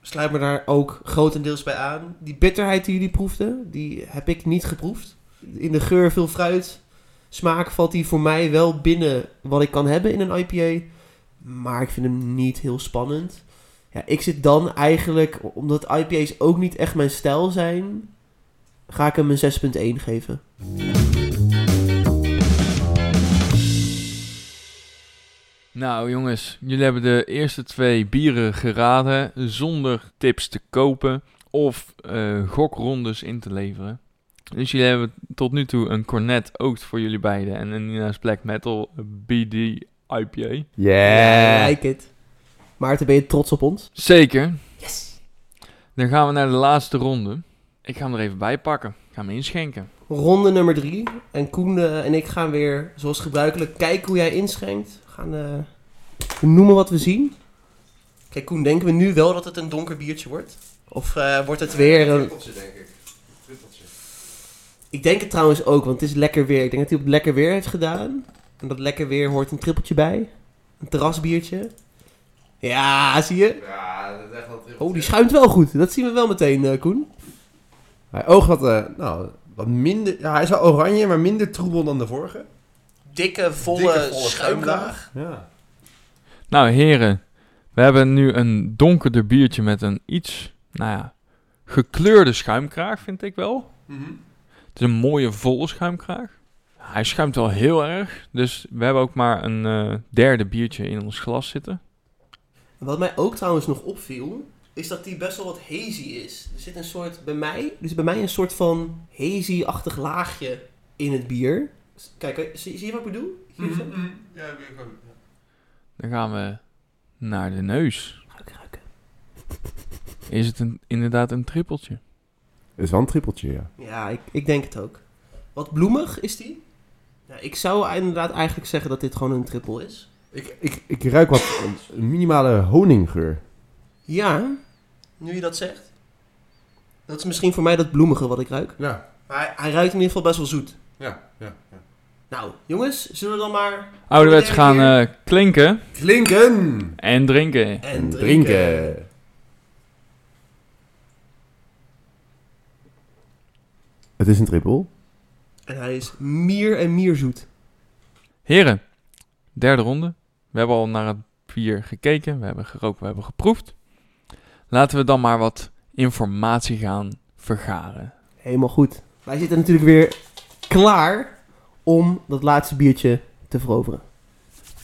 sluit me daar ook grotendeels bij aan. Die bitterheid die jullie proefden, die heb ik niet geproefd. In de geur veel fruit. Smaak valt die voor mij wel binnen wat ik kan hebben in een IPA. Maar ik vind hem niet heel spannend. Ja, ik zit dan eigenlijk, omdat IPA's ook niet echt mijn stijl zijn, ga ik hem een 6.1 geven.
Nou jongens, jullie hebben de eerste twee bieren geraden zonder tips te kopen of eh, gokrondes in te leveren. Dus jullie hebben tot nu toe een cornet oogt voor jullie beiden en een Nina's Black Metal BD IPA.
Eh.
I like it. Maarten, ben je trots op ons?
Zeker.
Yes!
Dan gaan we naar de laatste ronde. Ik ga hem er even bij pakken. Ik ga hem inschenken.
Ronde nummer drie. En Koen eh, en ik gaan weer, zoals gebruikelijk, kijken hoe jij inschenkt. We gaan eh, we noemen wat we zien. Kijk, Koen, denken we nu wel dat het een donker biertje wordt? Of eh, wordt het weer een... Ik denk het trouwens ook, want het is lekker weer. Ik denk dat hij op lekker weer heeft gedaan. En dat lekker weer hoort een trippeltje bij. Een terrasbiertje. Ja, zie je?
Ja, dat is echt wel
Oh, die schuimt wel goed. Dat zien we wel meteen, eh, Koen.
Hij oogt wat, eh, nou, wat minder... Ja, hij is wel oranje, maar minder troebel dan de vorige.
Dikke, volle,
Dikke, volle schuimlaag.
Ja.
Nou heren, we hebben nu een donkerder biertje
Mhm.
met een iets, nou ja, gekleurde schuimkraag vind ik wel. Het is een mooie volle schuimkraag. Hij schuimt wel heel erg. Dus we hebben ook maar een eh, derde biertje in ons glas zitten.
Wat mij ook trouwens nog opviel, is dat die best wel wat hazy is. Er zit een soort, bij mij, er zit bij mij een soort van hazy-achtig laagje in het bier. S- Kijk, eh, zie, zie je wat ik bedoel? Zie
Mhm.
je zo?
Mhm, Ja, ik weet het.
Dan gaan we naar de neus.
Ruik, ruiken.
Is het een, inderdaad een trippeltje?
is wel een trippeltje, ja.
Ja, ik, ik denk het ook. Wat bloemig is die. Ja, ik zou inderdaad eigenlijk zeggen dat dit gewoon een triple is.
Ik, ik, ik ruik wat een- een minimale honinggeur.
Ja, nu je dat zegt. Dat is misschien voor mij dat bloemige wat ik ruik.
Ja,
Maar hij, hij ruikt in ieder geval best wel zoet.
ja, ja. ja.
Nou, jongens, zullen we dan maar...
Ouderwets
Derde
gaan
keer.
eh, klinken
Klinken!
en drinken.
En
Het is een trippel.
En hij is mier en mier zoet.
Heren, derde ronde. We hebben al naar het bier gekeken, we hebben gerookt, we hebben geproefd. Laten we dan maar wat informatie gaan vergaren.
Helemaal goed. Wij zitten natuurlijk weer klaar om dat laatste biertje te veroveren.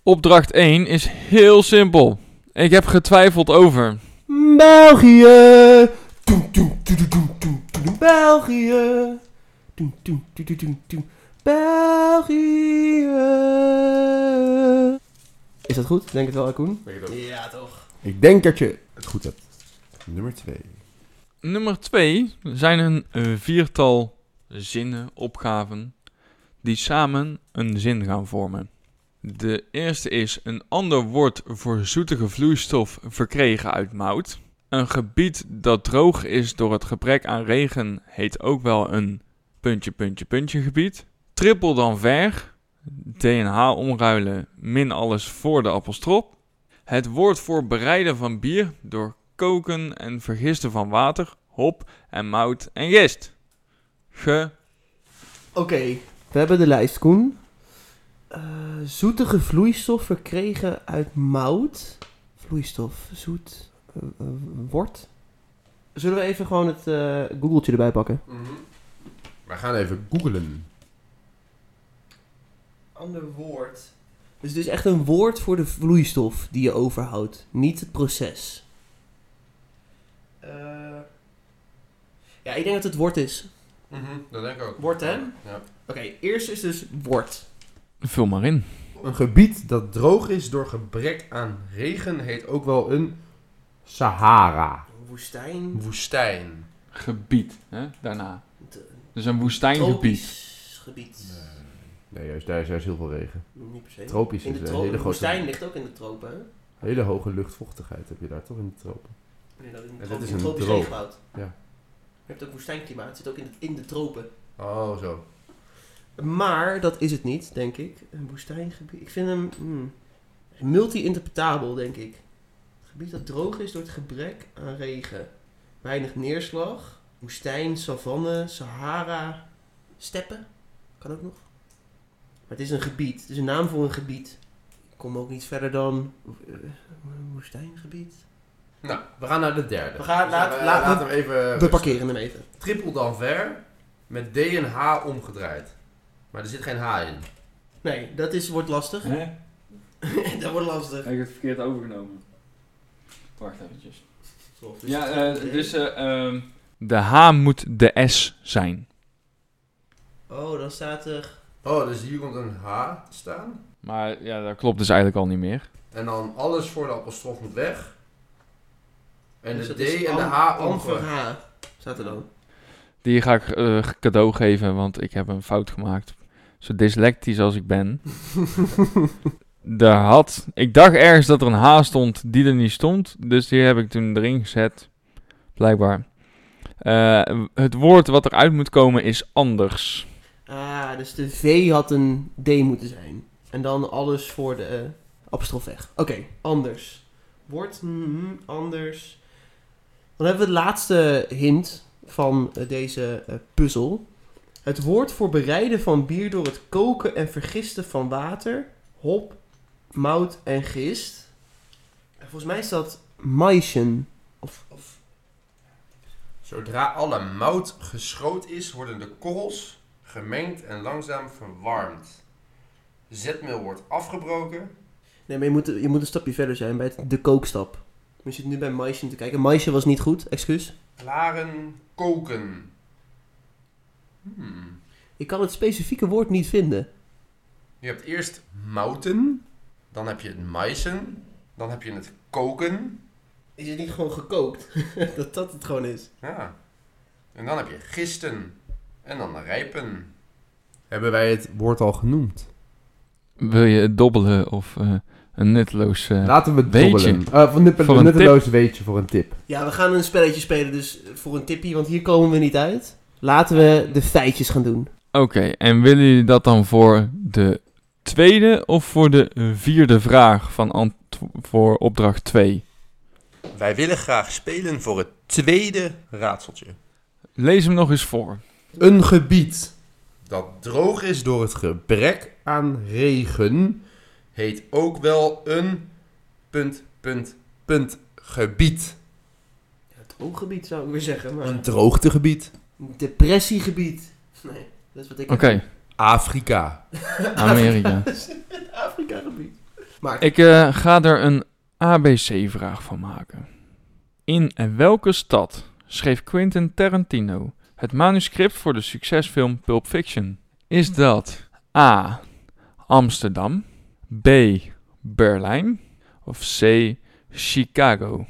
Opdracht 1 is heel simpel. Ik heb getwijfeld over.
België! Doem, doem, doem, doem, doem, doem, doem, België! Doem, doem, doem, doem, doem, doem, België! Is dat goed? Denk het wel, Koen?
Weet je dat?
Ja, toch.
Ik denk dat je het goed hebt. Nummer 2.
Nummer 2 zijn een eh, viertal zinnen, opgaven, die samen een zin gaan vormen. De eerste is een ander woord voor zoetige vloeistof verkregen uit mout. Een gebied dat droog is door het gebrek aan regen heet ook wel een puntje, puntje, puntje gebied. Trippel dan ver, DNH omruilen, min alles voor de appelstrop. Het woord voor bereiden van bier door koken en vergisten van water, hop en mout en gist. Ge.
Oké, we hebben de lijst, Koen. Eh, zoetige vloeistof verkregen uit mout. Vloeistof, zoet, eh, eh, wort. Zullen we even gewoon het eh googeltje erbij pakken?
We Mhm. gaan even googlen.
Ander woord. Dus het is echt een woord voor de vloeistof die je overhoudt, niet het proces. Eh. ja, ik denk dat het wort is.
Mhm, Dat denk ik ook.
Wordt, hè?
Ja.
Oké, eerst is dus wort.
Vul maar in.
Een gebied dat droog is door gebrek aan regen heet ook wel een
Sahara.
Woestijn.
woestijn.
Gebied, hè? daarna.
De-
Dus een woestijngebied.
Tropisch gebied.
Nee, juist daar is juist heel veel regen.
Niet per se.
Tropisch
in
is
de
een
tropen.
hele
woestijn
grote,
ligt ook in de tropen. hè?
hele hoge luchtvochtigheid heb je daar toch in de tropen.
Nee, dat is in de
dit
tropen.
is
in
een
tropisch
droom.
regenwoud.
Ja.
Je hebt ook woestijnklimaat. Het zit ook in de, in de tropen.
Oh, zo.
Maar dat is het niet, denk ik. Een woestijngebied. Ik vind hem hmm, multi-interpretabel, denk ik. Het gebied dat droog is door het gebrek aan regen. Weinig neerslag. Woestijn, savanne, Sahara, steppen. Kan ook nog. Maar het is een gebied. Het is een naam voor een gebied. Ik kom ook niet verder dan eh, woestijngebied.
Nou, we gaan naar de derde.
We gaan- laat-
eh,
laat-
hem even...
We parkeren hem even.
Triple dan ver met D en H omgedraaid. Maar er zit geen H in.
Nee, dat is, wordt lastig. [LAUGHS] dat wordt lastig.
ik het verkeerd overgenomen? Wacht eventjes.
Of dus-
Ja, eh, dus... eh, ehm, de H moet de S zijn.
Oh, dan staat er...
Oh, dus hier komt een H te staan.
Maar ja, dat klopt dus eigenlijk al niet meer.
En dan alles voor de apostrof moet weg. En
dus
de
dat
D
is
en de
Am-
H
Amver
omgedraaid.
H staat er dan.
Die ga ik eh, cadeau geven, want ik heb een fout gemaakt. Zo dyslectisch als ik ben. Daar had... Ik dacht ergens dat er een H stond die er niet stond. Dus die heb ik toen erin gezet. Blijkbaar. Eh, het woord wat eruit moet komen is anders.
Ah, dus de V had een D moeten zijn. En dan alles voor de eh, apostrof weg. Oké, anders. Wordt mhm, anders. Dan hebben we de laatste hint van eh, deze eh, puzzel. Het woord voor bereiden van bier door het koken en vergisten van water, hop, mout en gist. En volgens mij is dat maischen. Of, of
Zodra alle mout geschroot is, worden de korrels gemengd en langzaam verwarmd. Zetmeel wordt afgebroken.
Nee, maar je moet, je moet een stapje verder zijn bij het, de kookstap. We zitten nu bij maisje te kijken. Maisje was niet goed, excuus.
Klaren koken. Hmm.
Ik kan het specifieke woord niet vinden.
Je hebt eerst mouten, dan heb je het maisen, dan heb je het koken.
Is het niet gewoon gekookt? [LAUGHS] dat dat het gewoon is.
Ja. En dan heb je gisten en dan rijpen. Hebben wij het...
Wordt al genoemd.
Wil je het dobbelen of eh, een nutteloos... eh,
Laten we het
Weetje.
dobbelen. Eh, van
Voor een
een nutteloos weetje voor een tip.
Ja, we gaan een spelletje spelen dus voor een tippie, want hier komen we niet uit. Laten we de feitjes gaan doen.
Oké, en willen jullie dat dan voor de tweede of voor de vierde vraag van antwo- voor opdracht 2?
Wij willen graag spelen voor het tweede raadseltje.
Lees hem nog eens voor.
Een gebied dat droog is door het gebrek aan regen heet ook wel een punt, punt, punt gebied.
Het drooggebied zou ik weer zeggen, maar...
Een droogtegebied.
Depressiegebied. Nee, dat is wat ik...
Oké,
[LAUGHS]
Afrika.
Amerika.
Afrika-gebied. Maar
Ik eh, ga er een ABC-vraag van maken. In welke stad schreef Quentin Tarantino het manuscript voor de succesfilm Pulp Fiction? Is dat A. Amsterdam, B. Berlijn of C. Chicago?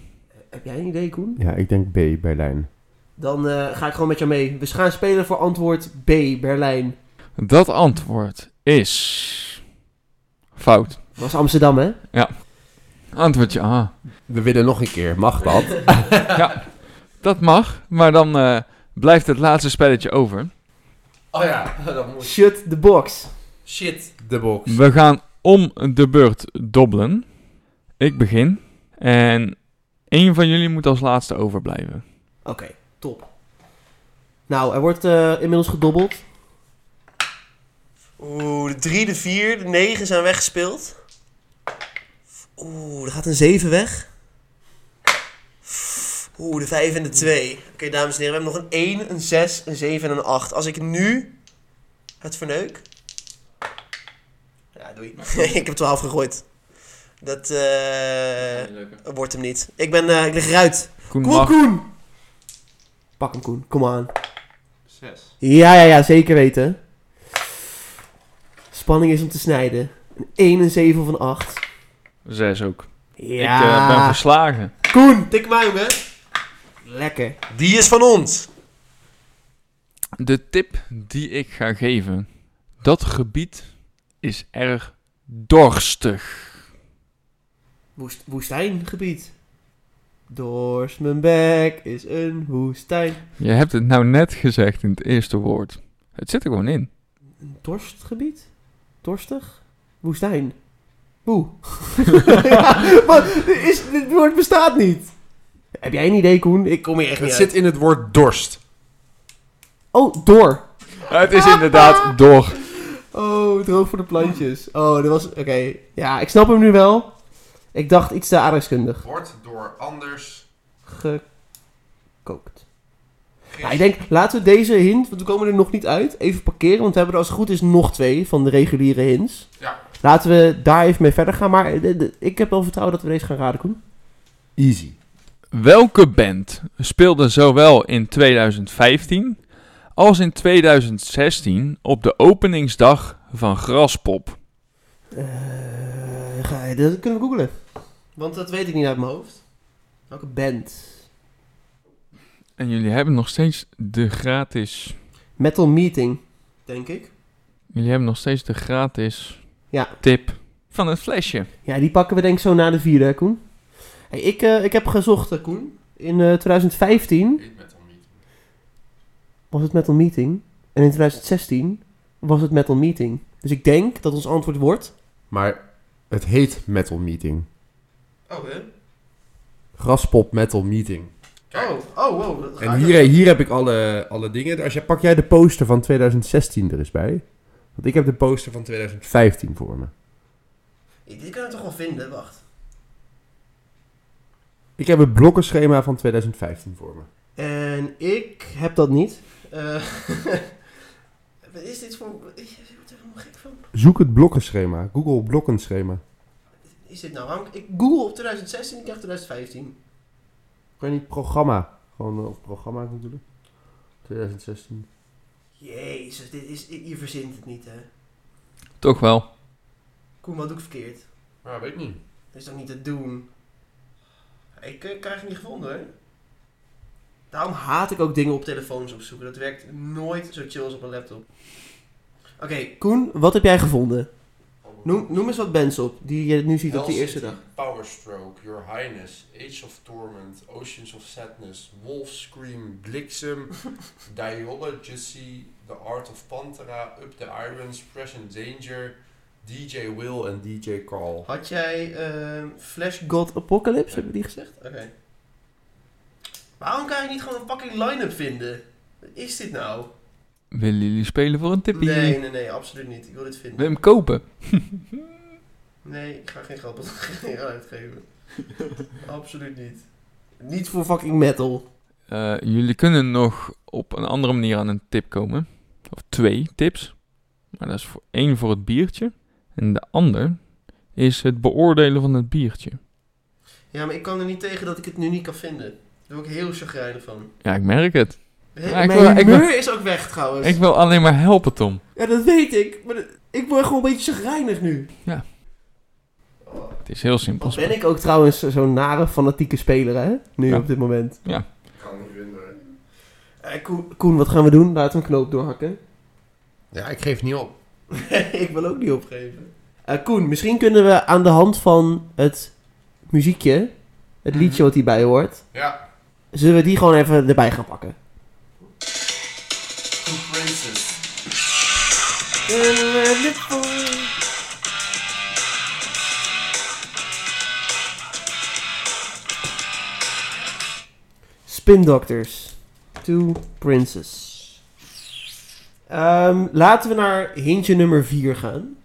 heb jij een idee, Koen?
Ja, ik denk B, Berlijn.
Dan eh, ga ik gewoon met jou mee. We gaan spelen voor antwoord B, Berlijn.
Dat antwoord is fout.
Was Amsterdam, hè?
Antwoordje A.
We willen nog een keer, mag dat?
Dat mag, maar dan eh, blijft het laatste spelletje over.
Oh ja, [LAUGHS] dat moet.
Shut the box.
Shit, de box.
We gaan om de beurt dobbelen. Ik begin. En één van jullie moet als laatste overblijven.
Oké, top. Nou, er wordt eh, inmiddels gedobbeld. Oeh, de 3, de 4, de 9 zijn weggespeeld. Oeh, er gaat een 7 weg. Oeh, de 5 en de 2. Oké, dames en heren, we hebben nog een 1, een 6, een 7 en een 8. Als ik nu het verneuk. Ja, doei. [LAUGHS] ik heb 12 gegooid. Dat eh, wordt hem niet. Ik, ben, eh, ik lig eruit.
Koen
Kom op,
mag.
Koen! Pak hem, Koen. Kom aan.
Zes.
Ja, ja, ja, zeker weten. Spanning is om te snijden. Een 1, een 7 of een 8.
Zes ook.
Ja.
Ik eh, ben verslagen.
Koen, tik mij hè? Lekker.
Die is van ons.
De tip die ik ga geven. Dat gebied is erg dorstig.
Woest, woestijngebied. Doors mijn bek is een woestijn.
Je hebt het nou net gezegd in het eerste woord. Het zit er gewoon in.
Een dorstgebied? Dorstig? Woestijn. [LAUGHS] Woe. ja, wat? Dit is, dit woord bestaat niet. Heb jij een idee, Koen? Ik kom hier echt
Het
niet
zit in het woord dorst.
Oh, door.
Het is inderdaad door.
Oh, droog voor de plantjes. Oh, dat was... Oké. Ja, ik snap hem nu wel. Ik dacht iets te aardrijkskundig.
Wordt door anders.
Gekookt. Ja, ik denk, laten we deze hint, want we komen er nog niet uit, even parkeren. Want we hebben er als het goed is nog twee van de reguliere hints.
Ja.
Laten we daar even mee verder gaan. Maar de- de- ik heb wel vertrouwen dat we deze gaan raden, Koen.
Easy.
Welke band speelde zowel in 2015 als in 2016 op de openingsdag van Graspop?
Eh, ga, dat kunnen we googlen. Want dat weet ik niet uit mijn hoofd. Welke band?
En jullie hebben nog steeds de gratis.
Metal Meeting, denk ik.
Jullie hebben nog steeds de gratis
Ja.
tip van het flesje.
Ja, die pakken we denk ik zo na de vierde, hè, Koen. Hey, ik, eh, ik heb gezocht, hè, Koen. In eh, 2015
Niet met hem niet.
was het Metal Meeting. En in 2016 was het Metal Meeting. Dus ik denk dat ons antwoord wordt...
Maar het heet Metal Meeting.
Oh, hè?
Graspop Metal Meeting.
Kijk.
oh, wow.
En hier, hier heb ik alle, alle dingen. Als jij, pak jij de poster van 2016 er eens bij. Want ik heb de poster van 2015 voor me.
Dit kunnen we toch wel vinden, wacht.
Ik heb het blokkenschema van 2015 voor me.
En ik heb dat niet. Eh, [LAUGHS] Wat is dit voor... Ik word er helemaal gek van.
Zoek het blokkenschema. Google blokkenschema.
Is dit nou waarom? Ik Google op 2016, ik krijg 2015.
Kan je niet programma? Gewoon eh, op programma googelen. 2016.
Jezus, dit is, je verzint het niet, hè.
Toch wel.
Koen, wat doe ik verkeerd?
Maar Ah, weet ik niet.
Dat is toch niet te doen? Ik eh, krijg het niet gevonden, hè? Daarom haat ik ook dingen op telefoons opzoeken. Dat werkt nooit zo chill als op een laptop. Oké, Koen, wat heb jij gevonden? Noem, noem eens wat bands op die je nu ziet op die
Hell
eerste
City,
dag.
Powerstroke, Your Highness, Age of Torment, Oceans of Sadness, Wolf Scream, Bliksem,
[LAUGHS]
Diology, The Art of Pantera, Up the Irons, Present Danger, DJ Will en DJ Carl.
Had jij ehm, Flash God Apocalypse, hebben we die gezegd? Oké. Waarom kan ik niet gewoon een fucking line-up vinden? Wat is dit nou?
Willen jullie spelen voor een tippie?
Nee, nee, nee, absoluut niet. Ik wil dit
Wil
vinden.
je hem kopen?
Nee, ik ga geen geld op- [LAUGHS] geen geld
[LAUGHS]
uitgeven. Absoluut niet. Niet voor fucking metal.
Eh, jullie kunnen nog op een andere manier aan een tip komen. Of twee tips. Maar dat is voor, één voor het biertje. En de ander is het beoordelen van het biertje.
Ja, maar ik kan er niet tegen dat ik het nu niet kan vinden. Daar word ik heel chagrijnig van.
Ja, ik merk het.
Hé,
Ja, ik
mijn
wil- ik wil-
humeur is ook weg trouwens.
Ik wil alleen maar helpen, Tom.
Ja, dat weet ik. Maar dat- ik word gewoon een beetje chagrijnig nu.
Ja.
Oh,
Het is heel simpel.
wat ben ik ook trouwens zo'n nare fanatieke speler hè? Nu
Ja.
op dit moment.
Ik kan niet vinden.
Eh, Koen, Koen, wat gaan we doen? Laten we een knoop doorhakken.
Ja, ik geef niet op.
[LAUGHS] ik wil ook niet opgeven. Eh, Koen, misschien kunnen we aan de hand van het muziekje, het liedje wat hierbij hoort,
Ja,
zullen we die gewoon even erbij gaan pakken.
Two Princess.
Spin Doctors, Two Princes. Ehm, laten we naar hintje nummer 4 gaan.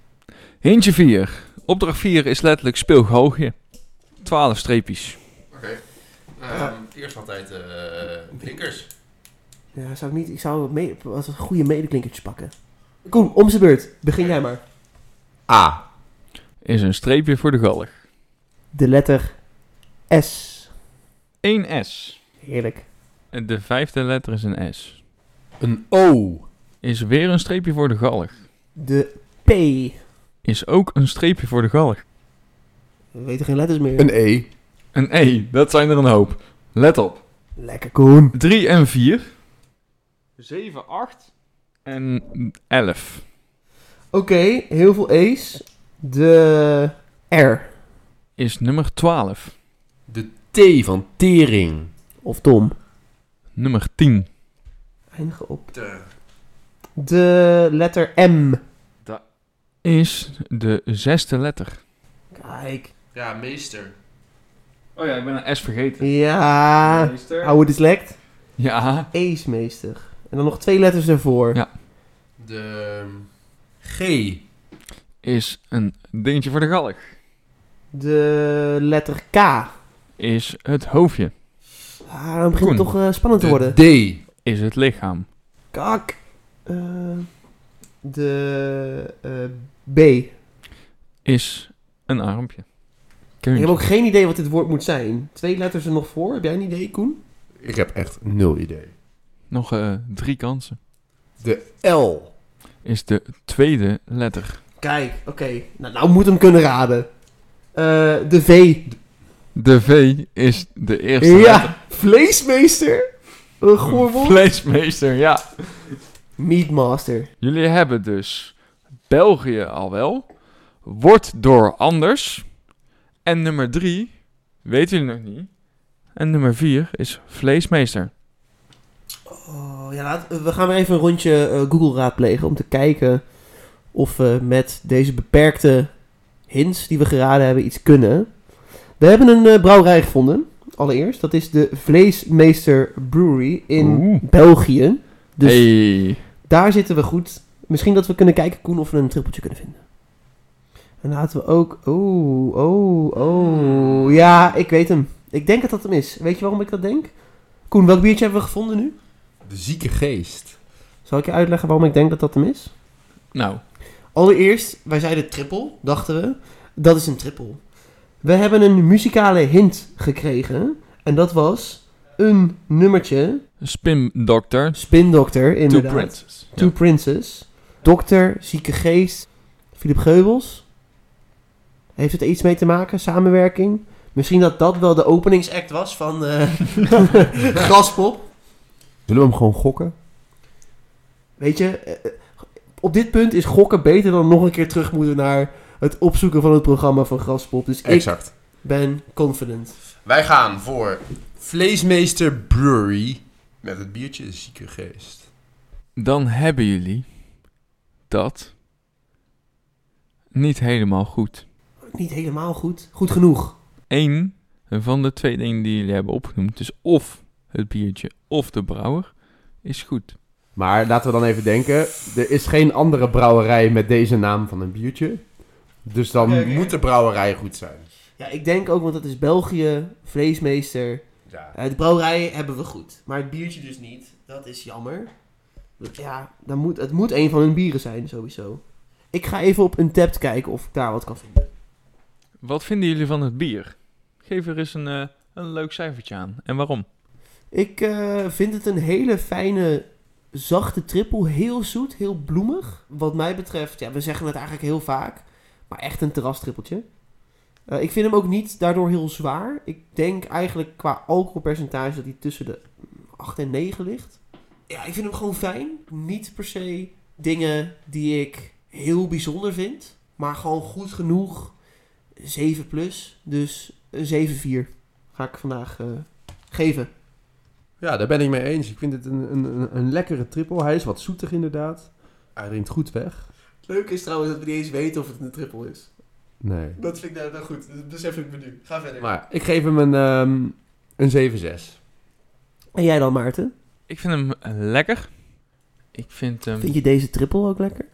Hintje 4. Opdracht 4 is letterlijk speelgehoogje. 12 streepjes.
Oké. Ehm, Eerst altijd eh blinkers.
Ja, zou ik, niet, ik zou wat mee, wat een goede medeklinkertje pakken. Koen, om zijn beurt. Begin jij maar.
A.
Is een streepje voor de galg.
De letter S.
1 S.
Heerlijk.
En De vijfde letter is een S.
Een O.
Is weer een streepje voor de galg.
De P.
Is ook een streepje voor de galg.
We weten geen letters meer.
Een E.
Een E, dat zijn er een hoop. Let op.
Lekker Koen.
3 en 4. 7, 8. En 11.
Oké, heel veel A's. De R.
Is nummer 12.
De T van tering.
Of Tom.
Nummer 10.
Eindigen op.
De
De letter M.
Is de zesde letter.
Kijk.
Ja, meester.
Oh ja, ik ben een S vergeten.
Ja. Oude dyslect.
Ja.
A's meester. En dan nog twee letters ervoor.
Ja.
De ehm, G.
Is een dingetje voor de galg.
De letter K.
Is het hoofdje.
Ah, dan begint het
Koen.
toch eh, spannend te worden.
D.
Is het lichaam.
Kak. Eh, de eh, B.
Is een armpje.
Ik heb
Keuntje.
ook geen idee wat dit woord moet zijn. Twee letters er nog voor. Heb jij een idee, Koen?
Ik heb echt nul idee.
Nog eh, drie kansen.
De L.
Is de tweede letter.
Kijk, oké. Nou, nou moet hem kunnen raden. Eh, de V.
De V is de eerste letter.
Ja, vleesmeester. Een goor woord.
Vleesmeester, ja.
Meatmaster.
Jullie hebben dus België al wel. Wordt door anders. En nummer 3 weten jullie nog niet. En nummer 4 is vleesmeester.
Oh, ja, laat- we gaan weer even een rondje eh, Google raadplegen om te kijken of we met deze beperkte hints die we geraden hebben iets kunnen. We hebben een eh, brouwerij gevonden, allereerst. Dat is de Vleesmeester Brewery in
Oeh.
België. Dus
hey.
daar zitten we goed. Misschien dat we kunnen kijken, Koen, of we een trippeltje kunnen vinden. En laten we ook... Oh, oh, oh. Ja, ik weet hem. Ik denk dat dat hem is. Weet je waarom ik dat denk? Koen, welk biertje hebben we gevonden nu?
De zieke geest.
Zal ik je uitleggen waarom ik denk dat dat hem is?
Nou,
Allereerst, wij zeiden triple, dachten we. Dat is een triple. We hebben een muzikale hint gekregen. En dat was een nummertje.
Spin Doctor,
Spin Doctor,
Two
inderdaad.
Princes.
Two
Ja.
Princes. Dokter, zieke geest, Philip Geubels. Heeft het er iets mee te maken? Samenwerking? Misschien dat dat wel de openingsact was van eh [LAUGHS] Graspop.
Zullen we hem gewoon gokken?
Weet je, eh, eh, op dit punt is gokken beter dan nog een keer terug moeten naar het opzoeken van het programma van Graspop. Dus
Exact.
ik ben confident.
Wij gaan voor Vleesmeester Brewery met het biertje Zieke Geest.
Dan hebben jullie dat niet helemaal goed.
Niet helemaal goed. Goed genoeg.
Eén van de twee dingen die jullie hebben opgenoemd, dus of het biertje of de brouwer, is goed.
Maar laten we dan even denken. Er is geen andere brouwerij met deze naam van een biertje. Dus dan
Oké, oké.
moet de brouwerij goed zijn.
Ja, ik denk ook, want dat is België, vleesmeester.
Ja.
Eh, de brouwerij hebben we goed, maar het biertje dus niet. Dat is jammer. Ja, dan moet, het moet een van hun bieren zijn, sowieso. Ik ga even op een tab kijken of ik daar wat kan vinden.
Wat vinden jullie van het bier? Geef er eens een, eh, een leuk cijfertje aan. En waarom?
Ik eh, vind het een hele fijne, zachte trippel. Heel zoet, heel bloemig. Wat mij betreft, ja, we zeggen het eigenlijk heel vaak. Maar echt een terrastrippeltje. Eh, ik vind hem ook niet daardoor heel zwaar. Ik denk eigenlijk qua alcoholpercentage dat hij tussen de 8 en 9 ligt. Ja, ik vind hem gewoon fijn. Niet per se dingen die ik heel bijzonder vind. Maar gewoon goed genoeg. 7 plus. Dus een 7-4 ga ik vandaag eh, geven.
Ja, daar ben ik mee eens. Ik vind het een, een, een, een lekkere triple. Hij is wat zoetig inderdaad. Hij drinkt goed weg.
Leuk is trouwens dat we niet eens weten of het een triple is.
Nee.
Dat vind ik nou, nou goed. Dat besef ik me nu. Ga verder.
Maar ik geef hem een, ehm, een 7-6.
En jij dan, Maarten?
Ik vind hem eh, lekker. Ik vind hem...
Vind je deze triple ook
[LAUGHS]
lekker?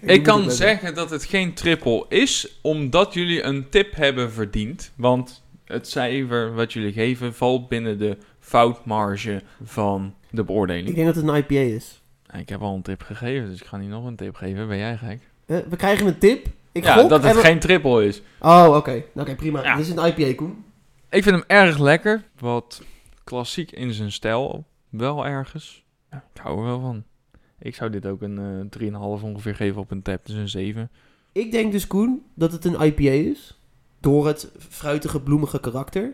Ik kan zeggen dat het geen triple is, omdat jullie een tip hebben verdiend. Want het cijfer wat jullie geven valt binnen de foutmarge van de
Ik
beoordeling.
denk dat het een IPA is.
Ik heb al een tip gegeven, dus ik ga niet nog een tip geven. Ben jij gek?
Eh, we krijgen een tip. Ik
ja,
gok
dat het
en we-
geen triple is.
Oh, oké. Nou, Oké, prima.
Ja.
Dit is een IPA, Koen.
Ik vind hem erg lekker. Wat klassiek in zijn stijl. Wel ergens. Ja, ik hou er wel van. Ik zou dit ook een eh 3,5 ongeveer geven op een tap, dus een 7.
Ik denk dus, Koen, dat het een IPA is. Door het fruitige, bloemige karakter. Ik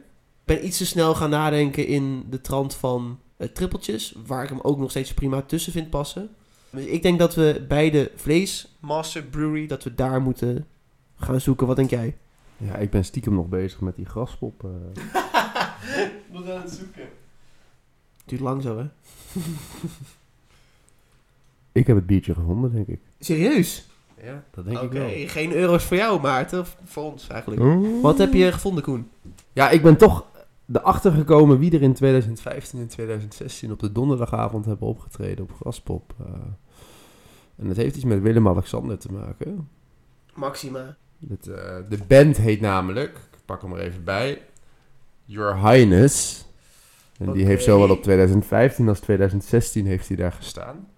ben iets te snel gaan nadenken in de trant van eh, trippeltjes. Waar ik hem ook nog steeds prima tussen vind passen. Dus ik denk dat we bij de Vleesmaster Brewery, dat we daar moeten gaan zoeken. Wat denk jij?
Ja, ik ben stiekem nog bezig met die graspop. eh.
Nog aan het zoeken.
Duurt lang zo, hè?
ik heb het biertje gevonden, denk ik.
Serieus?
Ja.
Dat
Oké, geen euro's voor jou, Maarten. Of voor ons eigenlijk.
wel.
Wat heb je gevonden, Koen?
Ja, ik ben toch erachter gekomen wie er in 2015 en 2016 op de donderdagavond hebben opgetreden op Graspop. eh. en dat heeft iets met Willem-Alexander te maken.
Maxima.
Het, eh, de band heet namelijk, ik pak hem er even bij, Your Highness. En die
Oké.
heeft zowel op 2015 als 2016 heeft hij daar gestaan.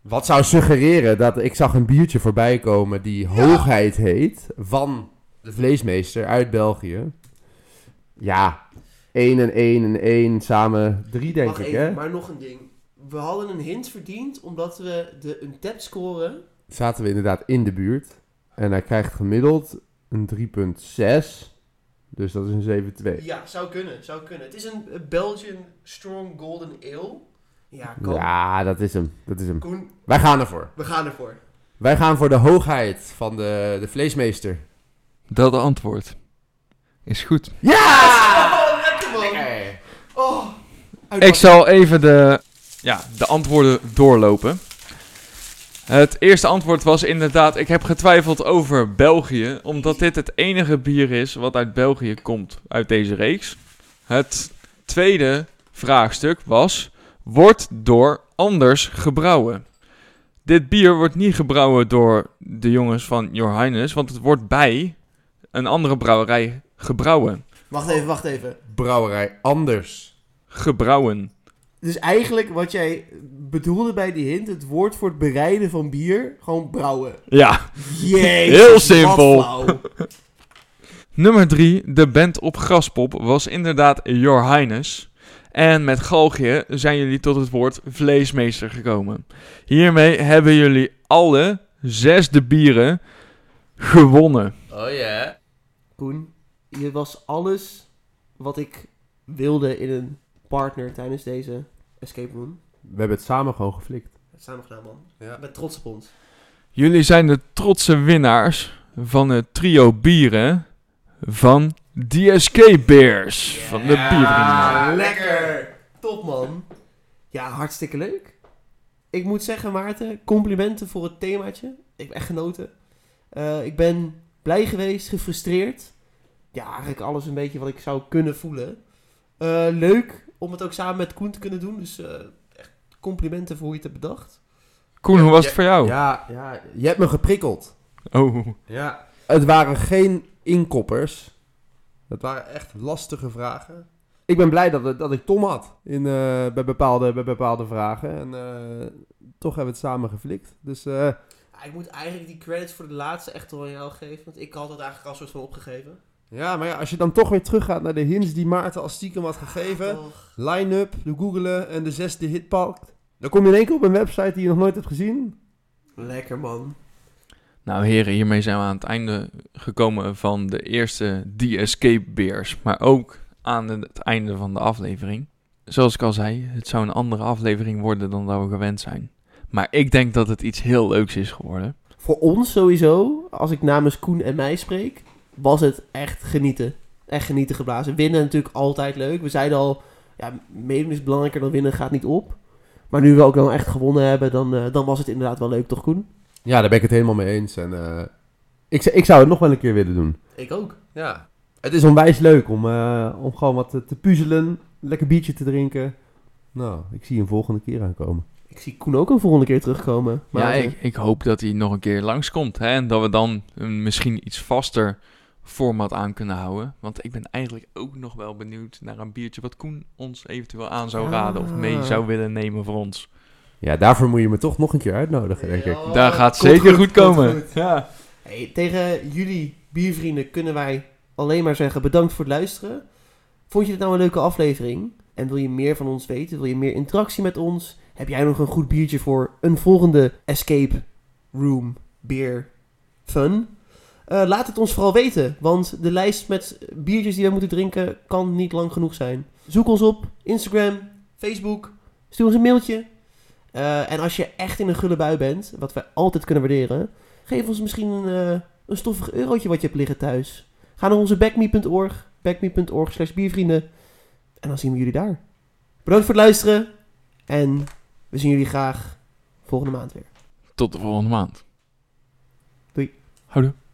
Wat zou suggereren dat ik zag een biertje voorbij komen die Hoogheid heet van de vleesmeester uit België. Ja, 1 en 1 en 1 samen 3 denk
Wacht
ik
even,
hè.
maar nog een ding. We hadden een hint verdiend omdat we de een tap scoren.
Zaten we inderdaad in de buurt en hij krijgt gemiddeld een 3.6. Dus dat is een 7-2.
Ja, zou kunnen, zou kunnen. Het is een eh, Belgian Strong Golden Ale. Ja, kan.
Ja, dat is hem. Dat is hem.
Koen,
Wij gaan ervoor.
we gaan ervoor.
Wij gaan voor de hoogheid van de, de vleesmeester.
Dat antwoord is goed.
Ja!
Oh, lekker man!
Lekker.
Oh.
Ik zal even de, ja, de antwoorden doorlopen. Het eerste antwoord was inderdaad, ik heb getwijfeld over België, omdat dit het enige bier is wat uit België komt uit deze reeks. Het tweede vraagstuk was, wordt door anders gebrouwen? Dit bier wordt niet gebrouwen door de jongens van Your Highness, want het wordt bij een andere brouwerij gebrouwen.
Wacht even, wacht even.
Brouwerij Anders.
Gebrouwen.
Dus eigenlijk wat jij bedoelde bij die hint, het woord voor het bereiden van bier, gewoon brouwen.
Ja.
Jezus,
Heel
wat
simpel.
flauw.
Nummer 3, de band op Graspop, was inderdaad Your Highness. En met galgje zijn jullie tot het woord vleesmeester gekomen. Hiermee hebben jullie alle zes de bieren gewonnen.
Oh ja.
Koen, je was alles wat ik wilde in een partner tijdens deze escape room.
We hebben het samen gewoon geflikt.
Het samen gedaan, man.
Ja.
Ik ben trots op ons.
Jullie zijn de trotse winnaars van het trio bieren van DSK Bears. Van de biervrienden.
Ah, lekker! Top, man. Ja, hartstikke leuk. Ik moet zeggen, Maarten, complimenten voor het themaatje. Ik heb echt genoten. Eh, ik ben blij geweest, gefrustreerd. Ja, eigenlijk alles een beetje wat ik zou kunnen voelen. Eh, leuk om het ook samen met Koen te kunnen doen. Dus eh, echt complimenten voor hoe je het hebt bedacht.
Koen, hoe was het
Ja,
voor jou?
Ja, ja, je hebt me geprikkeld.
Oh.
Ja.
Het waren geen inkoppers. Dat waren echt lastige vragen. Ik ben blij dat, het- dat ik Tom had in, eh, bij, bepaalde, bij bepaalde vragen. En eh, toch hebben we het samen geflikt. Dus eh,
Ja, ik moet eigenlijk die credits voor de laatste echt wel aan jou geven. Want ik had het eigenlijk al soort van opgegeven.
ja, maar ja, als je dan toch weer teruggaat naar de hints die Maarten als stiekem had gegeven.
Och,
Line-up, de googelen en de zesde hit pakt. Dan kom je in één keer op een website die je nog nooit hebt gezien.
lekker man.
Nou heren, hiermee zijn we aan het einde gekomen van de eerste The Escape Bears. Maar ook aan het einde van de aflevering. Zoals ik al zei, het zou een andere aflevering worden dan dat we gewend zijn. Maar ik denk dat het iets heel leuks is geworden.
Voor ons sowieso, als ik namens Koen en mij spreek, was het echt genieten. Echt genieten geblazen. Winnen natuurlijk altijd leuk. We zeiden al, ja, meedoen is belangrijker dan winnen gaat niet op. Maar nu we ook dan echt gewonnen hebben, dan, eh, dan was het inderdaad wel leuk, toch Koen?
Ja, daar ben ik het helemaal mee eens. En eh, ik, zou- ik zou het nog wel een keer willen doen.
Ik ook.
Ja.
Het is onwijs leuk om, eh, om gewoon wat te, te puzzelen, lekker biertje te drinken. Nou, ik zie een volgende keer aankomen.
Ik zie Koen ook een volgende keer terugkomen.
Ja,
eh,
ik, ik hoop dat hij nog een keer langskomt. Hè? En dat we dan een misschien iets vaster format aan kunnen houden. Want ik ben eigenlijk ook nog wel benieuwd naar een biertje wat Koen ons eventueel aan zou raden. Of mee
Ah.
zou willen nemen voor ons.
Ja, daarvoor moet je me toch nog een keer uitnodigen, denk ik.
Ja. Oh,
Daar gaat
komt
zeker
goed,
goed
komt
komen.
goed.
Ja.
Hey, tegen jullie biervrienden kunnen wij alleen maar zeggen bedankt voor het luisteren. Vond je dit nou een leuke aflevering? En wil je meer van ons weten? Wil je meer interactie met ons? Heb jij nog een goed biertje voor een volgende Escape Room Beer Fun? Eh, laat het ons vooral weten, want de lijst met biertjes die we moeten drinken kan niet lang genoeg zijn. Zoek ons op Instagram, Facebook, stuur ons een mailtje. Eh, en als je echt in een gulle bui bent, wat wij altijd kunnen waarderen, Geef ons misschien een, eh, een stoffig eurotje wat je hebt liggen thuis. Ga naar onze backme.org, backme.org slash biervrienden. En dan zien we jullie daar. Bedankt voor het luisteren. En we zien jullie graag volgende maand weer.
Tot de volgende maand.
Doei.
Houdoe.